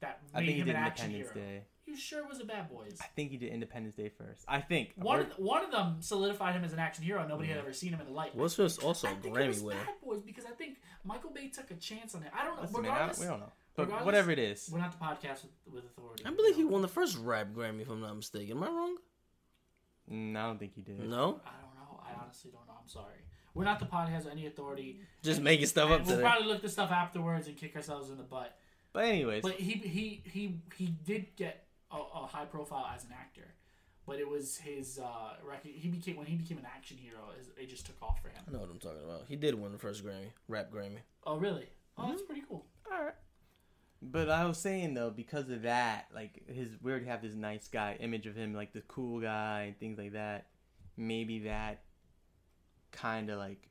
Speaker 1: That made
Speaker 4: I think he
Speaker 1: him
Speaker 4: did
Speaker 1: an action
Speaker 4: Independence
Speaker 1: hero.
Speaker 4: Day.
Speaker 1: You sure it was a Bad Boys?
Speaker 4: I think he did Independence Day first. I think.
Speaker 1: One
Speaker 4: Or-
Speaker 1: of, one of them solidified him as an action hero. Nobody had ever seen him in the light.
Speaker 2: Will Smith's also
Speaker 1: I
Speaker 2: a
Speaker 1: think it
Speaker 2: Grammy
Speaker 1: was
Speaker 2: winner.
Speaker 1: Bad Boys because I think Michael Bay took a chance on it. I don't know.
Speaker 4: Listen, man, I,
Speaker 1: regardless,
Speaker 4: we don't know. But
Speaker 1: regardless,
Speaker 4: whatever it is,
Speaker 1: We're not the podcast with, with authority.
Speaker 2: I believe he
Speaker 1: you know?
Speaker 2: won the first rap Grammy, if I'm not mistaken. Am I wrong?
Speaker 4: mm, I don't think he did.
Speaker 2: No.
Speaker 1: I don't know. I honestly don't know. I'm sorry. We're not the pod has any authority.
Speaker 2: Just making stuff up
Speaker 1: we'll
Speaker 2: today.
Speaker 1: probably look this stuff afterwards and kick ourselves in the butt.
Speaker 4: But anyways,
Speaker 1: But he he he he did get a, a high profile as an actor, but it was his uh rec- he became when he became an action hero. is- It just took off for
Speaker 2: I
Speaker 1: him.
Speaker 2: know what I'm talking about. He did win the first Grammy, rap Grammy.
Speaker 1: Oh really? Oh,
Speaker 2: Mm-hmm.
Speaker 1: that's pretty cool.
Speaker 4: But I was saying though, because of that, like his we already have this nice guy image of him, like the cool guy and things like that. Maybe that kind of like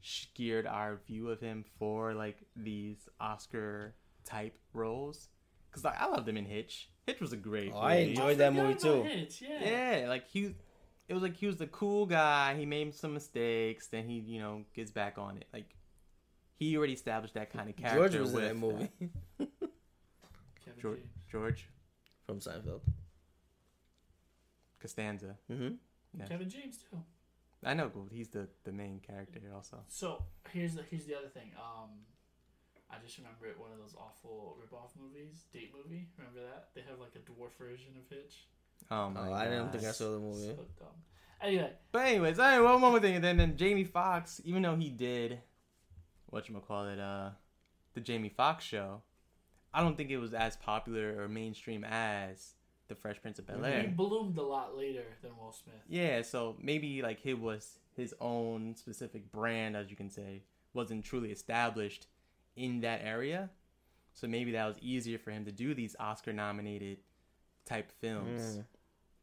Speaker 4: skewered our view of him for like these Oscar type roles. Cause like I loved him in Hitch. Hitch was a great.
Speaker 2: Oh, I
Speaker 4: movie.
Speaker 2: enjoyed that
Speaker 1: Forgot
Speaker 2: movie
Speaker 1: about
Speaker 2: too.
Speaker 1: Hitch, Yeah.
Speaker 4: Yeah, like he, it was like he was the cool guy. He made some mistakes, then he you know gets back on it. Like he already established that kind of character.
Speaker 2: George was in
Speaker 4: with
Speaker 2: that movie
Speaker 1: Kevin
Speaker 4: George,
Speaker 1: James.
Speaker 4: George
Speaker 2: from Seinfeld.
Speaker 4: Costanza.
Speaker 2: Mm-hmm.
Speaker 4: Yeah.
Speaker 1: Kevin James too.
Speaker 4: I know, but he's the, the main character here also.
Speaker 1: So here's the here's the other thing. Um, I just remember it, one of those awful ripoff movies, date movie. Remember that? They have like a dwarf version of Hitch.
Speaker 4: Oh
Speaker 2: Oh,
Speaker 4: my
Speaker 2: I didn't
Speaker 4: gosh.
Speaker 2: think I saw the movie.
Speaker 1: So dumb. Anyway,
Speaker 4: But anyways, all right, well, one more thing, and then then Jamie Foxx, even though he did what call it, uh, the Jamie Foxx show, I don't think it was as popular or mainstream as the Fresh Prince of Bel Air.
Speaker 1: he bloomed a lot later than Will Smith.
Speaker 4: Yeah, so maybe like he was his own specific brand, as you can say, wasn't truly established in that area. So maybe that was easier for him to do these Oscar-nominated type films.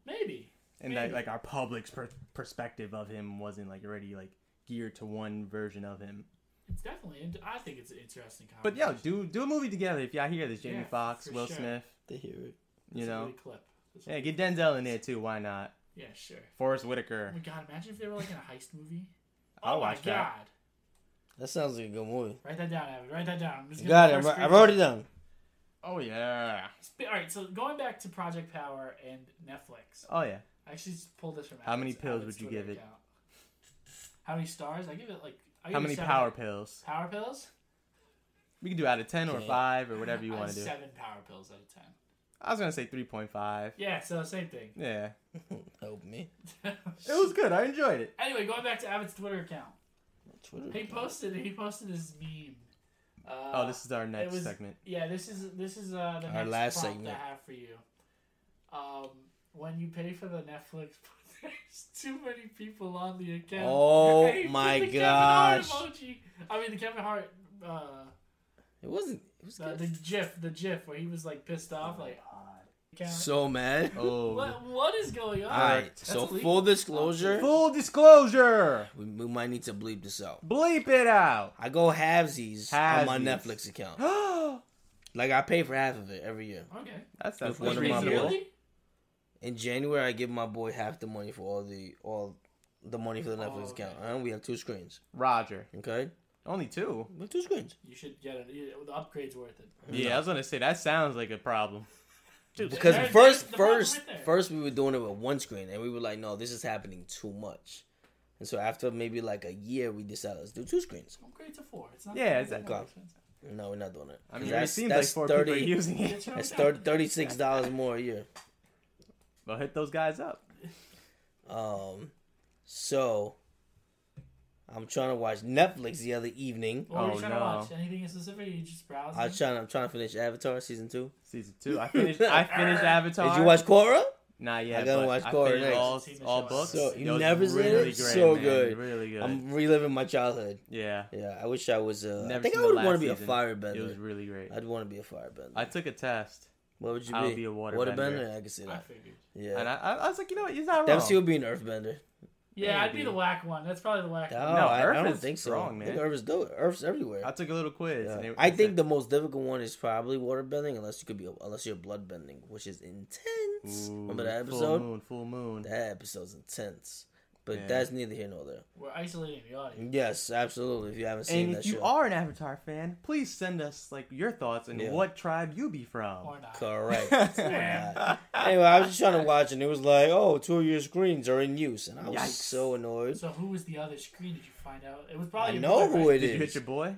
Speaker 1: Maybe.
Speaker 4: and that
Speaker 1: Maybe.
Speaker 4: like our public's per- perspective of him wasn't like already like geared to one version of him.
Speaker 1: It's definitely. int- I think it's an interesting.
Speaker 4: But yo,
Speaker 1: conversation.
Speaker 4: do do a movie together if y'all hear this. Jamie
Speaker 1: Yeah,
Speaker 4: Foxx,
Speaker 1: for
Speaker 4: Will
Speaker 1: sure.
Speaker 4: Smith,
Speaker 2: They hear it.
Speaker 4: you
Speaker 1: That's a
Speaker 4: know,
Speaker 1: good clip. That's
Speaker 4: yeah, get Denzel in there too. Why not?
Speaker 1: Yeah, sure.
Speaker 4: Forrest
Speaker 1: Oh
Speaker 4: Whitaker.
Speaker 1: my god, imagine if they were like in a heist movie.
Speaker 4: I'll
Speaker 1: oh my
Speaker 4: watch that.
Speaker 1: god.
Speaker 2: That sounds like a good movie.
Speaker 1: Write that down, Evan. Write that down. I'm just gonna
Speaker 2: Got
Speaker 1: do
Speaker 2: it.
Speaker 1: first
Speaker 2: I
Speaker 1: screen-
Speaker 2: wrote it down.
Speaker 4: Oh yeah.
Speaker 1: Sp- All right, so going back to Project Power and Netflix,
Speaker 4: Oh yeah.
Speaker 1: I actually just pulled this from.
Speaker 4: How many
Speaker 1: Alex-
Speaker 4: pills
Speaker 1: Alex's
Speaker 4: would you
Speaker 1: Twitter
Speaker 4: give it?
Speaker 1: account. How many stars? I give it like. I give
Speaker 4: How
Speaker 1: it
Speaker 4: many
Speaker 1: seven-
Speaker 4: power pills?
Speaker 1: Power pills?
Speaker 4: We can do out of ten or
Speaker 2: Yeah.
Speaker 4: five or whatever you
Speaker 1: Uh,
Speaker 4: want to do.
Speaker 1: Seven power pills out of ten.
Speaker 4: I was gonna say three point five.
Speaker 1: Yeah, so same thing.
Speaker 4: Yeah,
Speaker 2: Help Oh, me.
Speaker 4: it was good. I enjoyed it.
Speaker 1: anyway, going back to Abbott's Twitter account,
Speaker 2: Twitter.
Speaker 1: he posted he posted his meme. Uh,
Speaker 4: Oh, this is our
Speaker 1: It
Speaker 4: next
Speaker 1: was-
Speaker 4: segment.
Speaker 1: Yeah, this is this is uh, the
Speaker 2: Our
Speaker 1: next
Speaker 2: last
Speaker 1: prompt
Speaker 2: segment.
Speaker 1: I have for you. Um, when you pay for the Netflix, there's too many people on the account.
Speaker 2: Oh
Speaker 1: And he put
Speaker 2: my
Speaker 1: the Kevin Hart
Speaker 2: gosh.
Speaker 1: emoji. I mean the Kevin Hart, uh,
Speaker 2: It wasn't. It was
Speaker 1: the,
Speaker 2: good.
Speaker 1: the GIF, the GIF where he was like pissed off, like. account.
Speaker 2: so mad.
Speaker 4: Oh,
Speaker 1: what what is going on?
Speaker 2: All right.
Speaker 1: That's
Speaker 2: So
Speaker 1: illegal.
Speaker 2: full disclosure,
Speaker 4: full disclosure.
Speaker 2: we, we might need to bleep this out.
Speaker 4: Bleep it out.
Speaker 2: I go halvesies, on my
Speaker 4: Halvesies.
Speaker 2: Netflix account. like I pay for half of it every year.
Speaker 1: Okay.
Speaker 4: That's
Speaker 2: With
Speaker 4: that's
Speaker 2: one of
Speaker 4: pretty
Speaker 2: my
Speaker 4: reasonable.
Speaker 2: boys. In January, I give my boy half the money for all the all the money for the Netflix
Speaker 1: Oh, okay.
Speaker 2: account. All right? We have two screens.
Speaker 4: Roger.
Speaker 2: Okay,
Speaker 4: Only two.
Speaker 2: we have two screens.
Speaker 1: You should get it. You- The upgrade's worth it.
Speaker 4: Yeah, I was gonna say that sounds like a problem.
Speaker 2: Because
Speaker 1: There-
Speaker 2: first,
Speaker 1: there's the problem
Speaker 2: first,
Speaker 1: right there.
Speaker 2: first, we were doing it with one screen, and we were like, "No, this is happening too much." And so after maybe like a year, we decided let's do two screens.
Speaker 1: Upgrade to four. It's not.
Speaker 4: Yeah,
Speaker 1: it's
Speaker 4: exactly.
Speaker 2: No, we're not doing it.
Speaker 4: I mean, it
Speaker 2: That's-
Speaker 4: seems like
Speaker 2: that's
Speaker 4: four people are using it.
Speaker 1: Get your own
Speaker 2: That's
Speaker 1: account.
Speaker 2: thirty thirty six dollars more a year.
Speaker 4: Well, hit those guys up.
Speaker 2: Um, so I'm trying to watch Netflix the other evening.
Speaker 1: What were
Speaker 4: Oh,
Speaker 1: you trying to
Speaker 4: no.
Speaker 1: watch? Anything in specific? You just browsing?
Speaker 2: I was trying. I'm trying to finish Avatar season two.
Speaker 4: Season two. I finished. I finished Avatar.
Speaker 2: Did you watch Korra?
Speaker 4: Not yet.
Speaker 2: I gotta
Speaker 4: but
Speaker 2: watch
Speaker 4: I
Speaker 2: Korra
Speaker 4: finished
Speaker 2: next.
Speaker 4: all,
Speaker 1: Seen the
Speaker 4: all
Speaker 1: show.
Speaker 4: books.
Speaker 2: So you
Speaker 4: It was
Speaker 2: never seen it?
Speaker 4: really Great,
Speaker 2: So
Speaker 4: man.
Speaker 2: good.
Speaker 4: Really good.
Speaker 2: I'm reliving my childhood.
Speaker 4: yeah.
Speaker 2: Yeah, I wish I was. Uh, I
Speaker 4: Never
Speaker 2: think
Speaker 4: seen
Speaker 2: I
Speaker 4: the
Speaker 2: would
Speaker 4: last
Speaker 2: want to be a
Speaker 4: season. It was
Speaker 2: firebender.
Speaker 4: really great.
Speaker 2: I'd want to be a firebender.
Speaker 4: I took a test
Speaker 2: What would you
Speaker 4: I would
Speaker 2: be?
Speaker 4: be a waterbender.
Speaker 2: Waterbender? I can see
Speaker 1: I
Speaker 2: that.
Speaker 1: figured.
Speaker 4: And
Speaker 2: Yeah.
Speaker 4: I, I, I was like, you know what? He's not wrong.
Speaker 2: Dempsey would be an earthbender.
Speaker 1: Yeah, I'd be the whack one. That's probably the whack
Speaker 2: No,
Speaker 1: one.
Speaker 2: I,
Speaker 4: Earth
Speaker 2: I don't
Speaker 4: is
Speaker 2: think so.
Speaker 4: strong,
Speaker 2: I think
Speaker 4: man.
Speaker 2: Earth is dope. Earth's everywhere.
Speaker 4: I took a little quiz.
Speaker 2: Yeah.
Speaker 4: and it-
Speaker 2: I
Speaker 4: it
Speaker 2: think
Speaker 4: said-
Speaker 2: the most difficult one is probably waterbending, unless you could be unless you're bloodbending, which is intense.
Speaker 4: Ooh,
Speaker 2: Remember that
Speaker 4: Full
Speaker 2: episode?
Speaker 4: moon. Full moon.
Speaker 2: That episode's intense, but
Speaker 4: Yeah.
Speaker 2: that's neither here nor there.
Speaker 1: We're isolating the audience.
Speaker 2: Yes, absolutely. If you haven't seen
Speaker 4: and
Speaker 2: that
Speaker 4: if you
Speaker 2: show,
Speaker 4: are an Avatar fan, please send us like your thoughts and
Speaker 2: Yeah.
Speaker 4: what tribe you be from.
Speaker 1: Or not.
Speaker 2: correct. Uh, anyway, I was just trying to watch, and it was like, oh, two of your screens are in use, and I was
Speaker 4: Yikes.
Speaker 2: so annoyed.
Speaker 1: So who was the other screen? Did you find out? It was
Speaker 2: I
Speaker 1: probably your
Speaker 2: know
Speaker 1: boy,
Speaker 2: who
Speaker 1: right?
Speaker 2: it
Speaker 4: Did you hit
Speaker 2: is.
Speaker 4: your boy?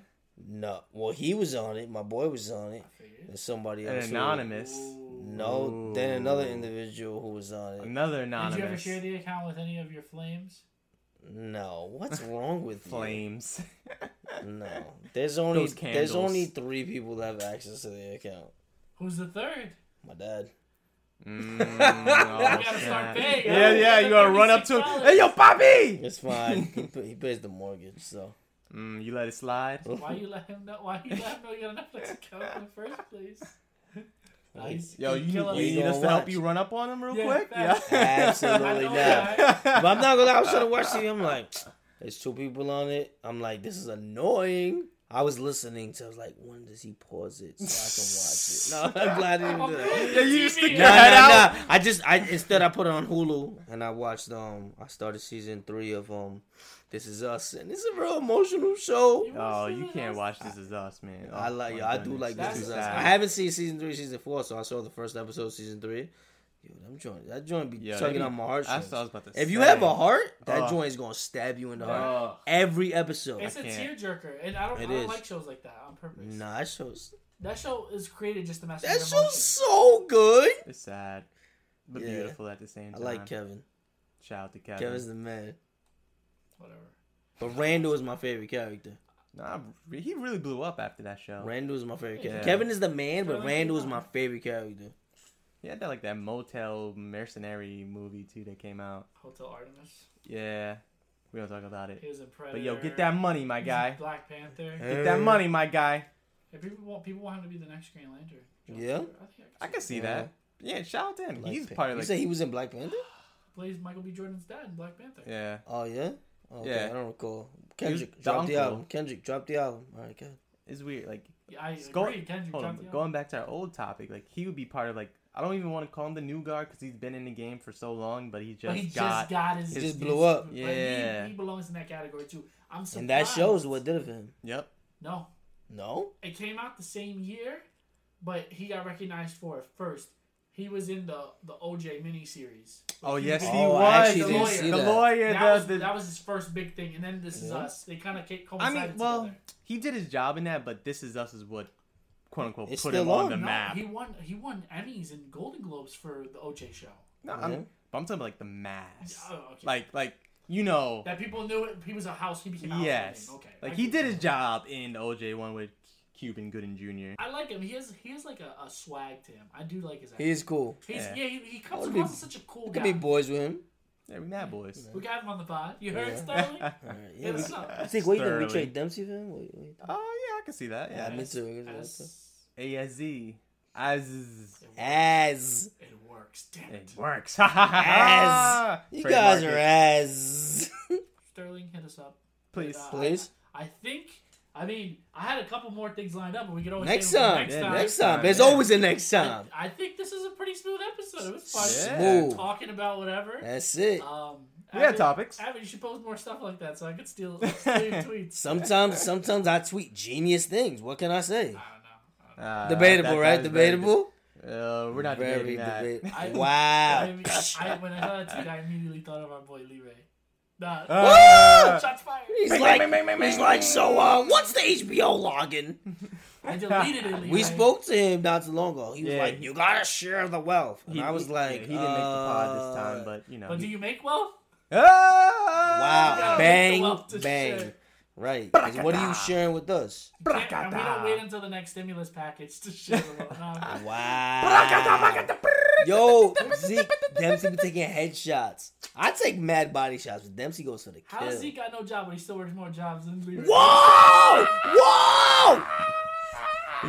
Speaker 2: No, well, he was on it. My boy was on it. And somebody
Speaker 4: An
Speaker 2: else. who-
Speaker 4: anonymous.
Speaker 2: No, then another individual who was on it.
Speaker 4: Another
Speaker 1: Did
Speaker 4: anonymous.
Speaker 1: you ever share the account with any of your flames?
Speaker 2: No, what's wrong with you?
Speaker 4: flames?
Speaker 2: No, there's only
Speaker 4: Those
Speaker 2: there's
Speaker 4: candles.
Speaker 2: only three people that have access to the account.
Speaker 1: Who's the third?
Speaker 2: My dad.
Speaker 1: You gotta start paying.
Speaker 4: yeah, yeah. You gotta run up to him. Hey, yo, Poppy!
Speaker 2: It's fine. he, pa- he pays the mortgage, so
Speaker 4: Mm, you let it slide.
Speaker 1: Why you let him know? Why you let him know you got a Netflix account in the first place? Nice.
Speaker 4: Yo, you,
Speaker 1: Kill us.
Speaker 4: you
Speaker 2: You
Speaker 4: need us
Speaker 2: gonna
Speaker 4: to help
Speaker 2: watch.
Speaker 4: you run up on him real
Speaker 1: Yeah,
Speaker 4: quick?
Speaker 1: facts. I
Speaker 2: absolutely
Speaker 1: know,
Speaker 2: not.
Speaker 1: right?
Speaker 2: But I'm not gonna. I was trying to watch TV. I'm like, there's two people on it. I'm like, this is annoying. I was listening, so I was like, when does he pause it so I can watch it? No, I'm glad I didn't do that.
Speaker 4: Yeah, you just stick
Speaker 1: TV.
Speaker 4: your
Speaker 2: Nah, nah,
Speaker 4: head out.
Speaker 2: nah. I just I instead I put it on Hulu and I watched um I started season three of um This Is Us and it's a real emotional show.
Speaker 4: Oh, you can't watch This Is Us, man.
Speaker 2: I
Speaker 4: Oh,
Speaker 2: like
Speaker 4: my
Speaker 2: yo, I do
Speaker 4: goodness.
Speaker 2: like
Speaker 1: That's
Speaker 2: This Is Us.
Speaker 4: sad.
Speaker 2: I haven't seen season three, season four, so I saw the first episode of season three. Yo, them joint, that joint be
Speaker 4: Yeah,
Speaker 2: tugging
Speaker 4: they be-
Speaker 2: on my heartstrings.
Speaker 4: That's what I was about to
Speaker 2: if you
Speaker 4: say.
Speaker 2: have a heart, that
Speaker 4: Ugh.
Speaker 2: joint is gonna stab you in the heart
Speaker 4: Ugh.
Speaker 2: every episode.
Speaker 1: It's a
Speaker 4: Oh. can't.
Speaker 1: tearjerker, and I don't, I
Speaker 2: It
Speaker 1: don't
Speaker 2: is.
Speaker 1: like shows like that on purpose.
Speaker 2: Nah, that show's
Speaker 1: That show is created just to mess with
Speaker 2: that
Speaker 1: your
Speaker 2: show's
Speaker 1: emotions.
Speaker 2: so good.
Speaker 4: It's sad, but
Speaker 2: Yeah.
Speaker 4: beautiful at the same
Speaker 2: I
Speaker 4: time.
Speaker 2: like Kevin.
Speaker 4: Shout out to Kevin.
Speaker 2: Kevin's the man.
Speaker 1: Whatever.
Speaker 2: But Randall is my favorite character.
Speaker 4: Nah, he really blew up after that show.
Speaker 2: Randall is my favorite character.
Speaker 4: Oh. Yeah.
Speaker 2: Kevin is the man, but
Speaker 1: Kevin
Speaker 2: Randall
Speaker 1: is
Speaker 2: is my favorite character.
Speaker 4: He had that like that motel mercenary movie too that came out.
Speaker 1: Hotel Artemis.
Speaker 4: Yeah, we don't talk about
Speaker 1: He
Speaker 4: it.
Speaker 1: was in Predator.
Speaker 4: But yo, get that money, my
Speaker 1: He's in
Speaker 4: guy.
Speaker 1: Black Panther.
Speaker 4: Get that money, my guy.
Speaker 1: If people want people want him to be the next Green Lantern. John
Speaker 2: Yeah.
Speaker 1: Stewart. I think
Speaker 4: I can see that. Yeah, shout out to him.
Speaker 2: Black
Speaker 4: He's
Speaker 2: Pan-
Speaker 4: part of
Speaker 2: You
Speaker 4: like.
Speaker 2: said he was in Black Panther?
Speaker 1: plays Michael B. Jordan's dad in Black Panther.
Speaker 4: yeah,
Speaker 2: Oh yeah. Okay,
Speaker 4: Yeah.
Speaker 2: I don't recall.
Speaker 4: He was
Speaker 2: Kendrick,
Speaker 4: the
Speaker 2: drop the
Speaker 4: uncle.
Speaker 2: album. Kendrick, drop the album. All right, good.
Speaker 4: it's weird. Like,
Speaker 1: Yeah, I
Speaker 4: it's go-
Speaker 1: agree. Kendrick
Speaker 4: hold on,
Speaker 1: Johnson.
Speaker 4: going back to our old topic, like he would be part of like. I don't even want to call him the new guard because he's been in the game for so long, but he just
Speaker 1: but he
Speaker 4: got.
Speaker 1: just got his.
Speaker 2: He just blew up.
Speaker 1: but
Speaker 4: Yeah.
Speaker 1: He, he belongs in that category too. I'm surprised.
Speaker 2: And that shows what did it for him.
Speaker 4: Yep.
Speaker 1: No,
Speaker 2: No.
Speaker 1: it came out the same year, but he got recognized for it first. He was in the the OJ miniseries.
Speaker 4: Oh yes, he
Speaker 2: Oh, I
Speaker 4: was
Speaker 2: actually
Speaker 4: the
Speaker 1: didn't
Speaker 4: lawyer.
Speaker 1: see
Speaker 4: The
Speaker 2: that.
Speaker 4: lawyer.
Speaker 1: that,
Speaker 4: the,
Speaker 1: was,
Speaker 4: the,
Speaker 1: that was his first big thing, and then This Is Us. They kind of
Speaker 4: I
Speaker 1: coincided
Speaker 4: mean, well,
Speaker 1: together.
Speaker 4: he did his job in that, but this is us is what quote unquote
Speaker 2: It's
Speaker 4: put
Speaker 2: still
Speaker 4: him on,
Speaker 2: on,
Speaker 4: the
Speaker 1: No,
Speaker 4: map.
Speaker 1: he won. He won Emmys and Golden Globes for the OJ show.
Speaker 4: No,
Speaker 2: Mm-hmm.
Speaker 4: I'm, but I'm talking about like the mass,
Speaker 1: Oh, okay.
Speaker 4: like like you know,
Speaker 1: That people knew it. He was a house. He became a house.
Speaker 4: yes,
Speaker 1: name. Okay.
Speaker 4: like
Speaker 1: I
Speaker 4: he
Speaker 1: get
Speaker 4: did
Speaker 1: it.
Speaker 4: his job in the OJ one with Cuban Gooden Jr.
Speaker 1: I like him. He has he has like a, a swag to him. I do like his.
Speaker 2: He is cool.
Speaker 1: He's, yeah.
Speaker 4: Yeah.
Speaker 1: he, he comes
Speaker 2: Could
Speaker 1: across
Speaker 2: be-
Speaker 1: as such a cool
Speaker 2: Could
Speaker 1: guy.
Speaker 2: be boys with him.
Speaker 4: Yeah, we mad boys.
Speaker 1: we got him on the pod. You heard Sterling?
Speaker 2: All right, yeah.
Speaker 1: Hit us
Speaker 2: we-
Speaker 1: up.
Speaker 2: I think wait, did we
Speaker 4: Sterling.
Speaker 2: trade Dempsey for him? Wait, wait.
Speaker 4: Oh yeah, I can see that.
Speaker 2: Yeah,
Speaker 4: Yeah,
Speaker 2: me too.
Speaker 1: As
Speaker 4: A S Z as
Speaker 2: As
Speaker 1: it works. Damn it.
Speaker 4: it works.
Speaker 2: As. you guys
Speaker 4: Trademark
Speaker 2: are
Speaker 4: it.
Speaker 2: as
Speaker 1: Sterling, hit us up.
Speaker 4: Please,
Speaker 1: Uh,
Speaker 2: please.
Speaker 1: I think. I mean, I had a couple more things lined up, but we could always
Speaker 2: Next
Speaker 1: save them for
Speaker 2: time.
Speaker 1: Next
Speaker 2: yeah,
Speaker 1: time.
Speaker 2: Next time. There's
Speaker 4: Yeah.
Speaker 2: always a next time.
Speaker 1: I, I think this is a pretty smooth episode. It was fun.
Speaker 4: Yeah.
Speaker 2: Smooth.
Speaker 1: Talking about whatever.
Speaker 2: That's it.
Speaker 4: Uh,
Speaker 1: Um,
Speaker 4: We had
Speaker 1: Abbott-
Speaker 4: topics.
Speaker 1: Abbott, you should post more stuff like that so I could steal, steal your tweets.
Speaker 2: Sometimes, sometimes I tweet genius things. What can I
Speaker 1: I
Speaker 2: say?
Speaker 1: don't know.
Speaker 4: Uh,
Speaker 2: Debatable,
Speaker 4: that
Speaker 2: right?
Speaker 4: guy's very
Speaker 2: Debatable.
Speaker 4: dis- Uh, we're not
Speaker 2: Very
Speaker 4: debating that.
Speaker 2: debatable.
Speaker 1: I- I,
Speaker 2: Wow.
Speaker 1: I, when I saw that tweet, I immediately thought of our boy Lee Ray. Nah,
Speaker 4: Ah!
Speaker 1: shots fired.
Speaker 2: He's like, he's like, so uh, what's the HBO login?
Speaker 1: I deleted it. Lee
Speaker 2: We
Speaker 1: Ray.
Speaker 2: spoke to him not too long ago. He was
Speaker 4: Yeah.
Speaker 2: like, you gotta share the wealth. And
Speaker 4: He-
Speaker 2: I was
Speaker 4: he-
Speaker 2: like,
Speaker 4: yeah, he didn't make the pod this
Speaker 2: uh,
Speaker 4: time, but you know.
Speaker 1: But do you make wealth?
Speaker 4: Ah!
Speaker 2: Wow.
Speaker 1: make the
Speaker 2: Bang,
Speaker 1: wealth to
Speaker 2: bang.
Speaker 1: share.
Speaker 2: Right. 'Cause What are you sharing with us?
Speaker 1: Can't- And we don't wait until the next stimulus package to share the wealth. Nah,
Speaker 2: Wow. Yo, Zeke, Dempsey be taking headshots. I take mad body shots, but Dempsey goes for the kill.
Speaker 1: How does he got no job, but he still works more jobs than Lee Ray?
Speaker 2: Whoa! Whoa!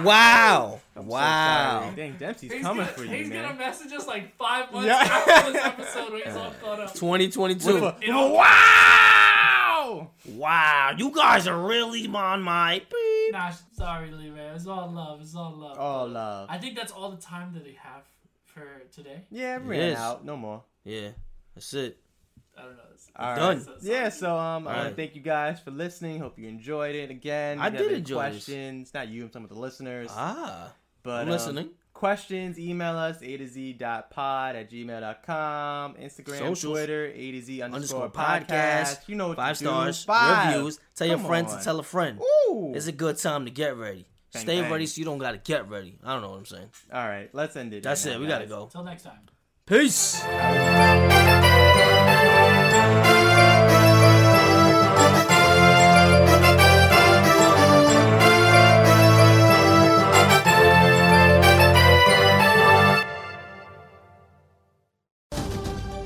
Speaker 2: Wow.
Speaker 4: Sorry.
Speaker 2: Wow.
Speaker 4: Dang, Dempsey's
Speaker 1: He's
Speaker 4: coming
Speaker 1: gonna,
Speaker 4: for
Speaker 1: he's
Speaker 4: you,
Speaker 1: gonna
Speaker 4: man.
Speaker 1: message us like five months
Speaker 4: Yeah.
Speaker 1: after this episode when he's all caught up.
Speaker 2: 2022.
Speaker 4: What
Speaker 1: You know,
Speaker 4: Wow!
Speaker 2: Wow. You guys are really on my. beep.
Speaker 1: Nah, sorry, Lee, man. It's all love. It's all love.
Speaker 4: All love.
Speaker 1: I think that's all the time that they have for today.
Speaker 4: Yeah, it ran
Speaker 2: Yes.
Speaker 4: out. No more.
Speaker 2: Yeah. That's it.
Speaker 1: I don't know. It's-
Speaker 4: All
Speaker 2: Done.
Speaker 1: So- so-
Speaker 4: Yeah, so um, I want
Speaker 2: Alright.
Speaker 4: to thank you guys for listening. Hope you enjoyed it. Again,
Speaker 2: I
Speaker 4: if you
Speaker 2: did
Speaker 4: have any
Speaker 2: enjoy this.
Speaker 4: questions. Not you, I'm talking about the listeners.
Speaker 2: Ah.
Speaker 4: but
Speaker 2: I'm
Speaker 4: um,
Speaker 2: listening.
Speaker 4: questions, email us a to z dot pod at gmail.com, Instagram,
Speaker 2: Socials.
Speaker 4: Twitter, a to z
Speaker 2: Underscore
Speaker 4: underscore podcast.
Speaker 2: podcast.
Speaker 4: You know what
Speaker 2: Five
Speaker 4: to do.
Speaker 2: stars.
Speaker 4: Five.
Speaker 2: Reviews. Tell your
Speaker 4: Come
Speaker 2: friends
Speaker 4: on.
Speaker 2: to tell a friend.
Speaker 4: Ooh.
Speaker 2: It's a good time to get ready.
Speaker 4: Bang,
Speaker 2: Stay
Speaker 4: bang.
Speaker 2: ready so you don't gotta get ready. I don't know what I'm saying.
Speaker 4: All right, let's end it.
Speaker 2: That's
Speaker 4: right
Speaker 2: it.
Speaker 4: now,
Speaker 2: We gotta
Speaker 4: guys.
Speaker 2: go.
Speaker 1: Till next time.
Speaker 2: Peace.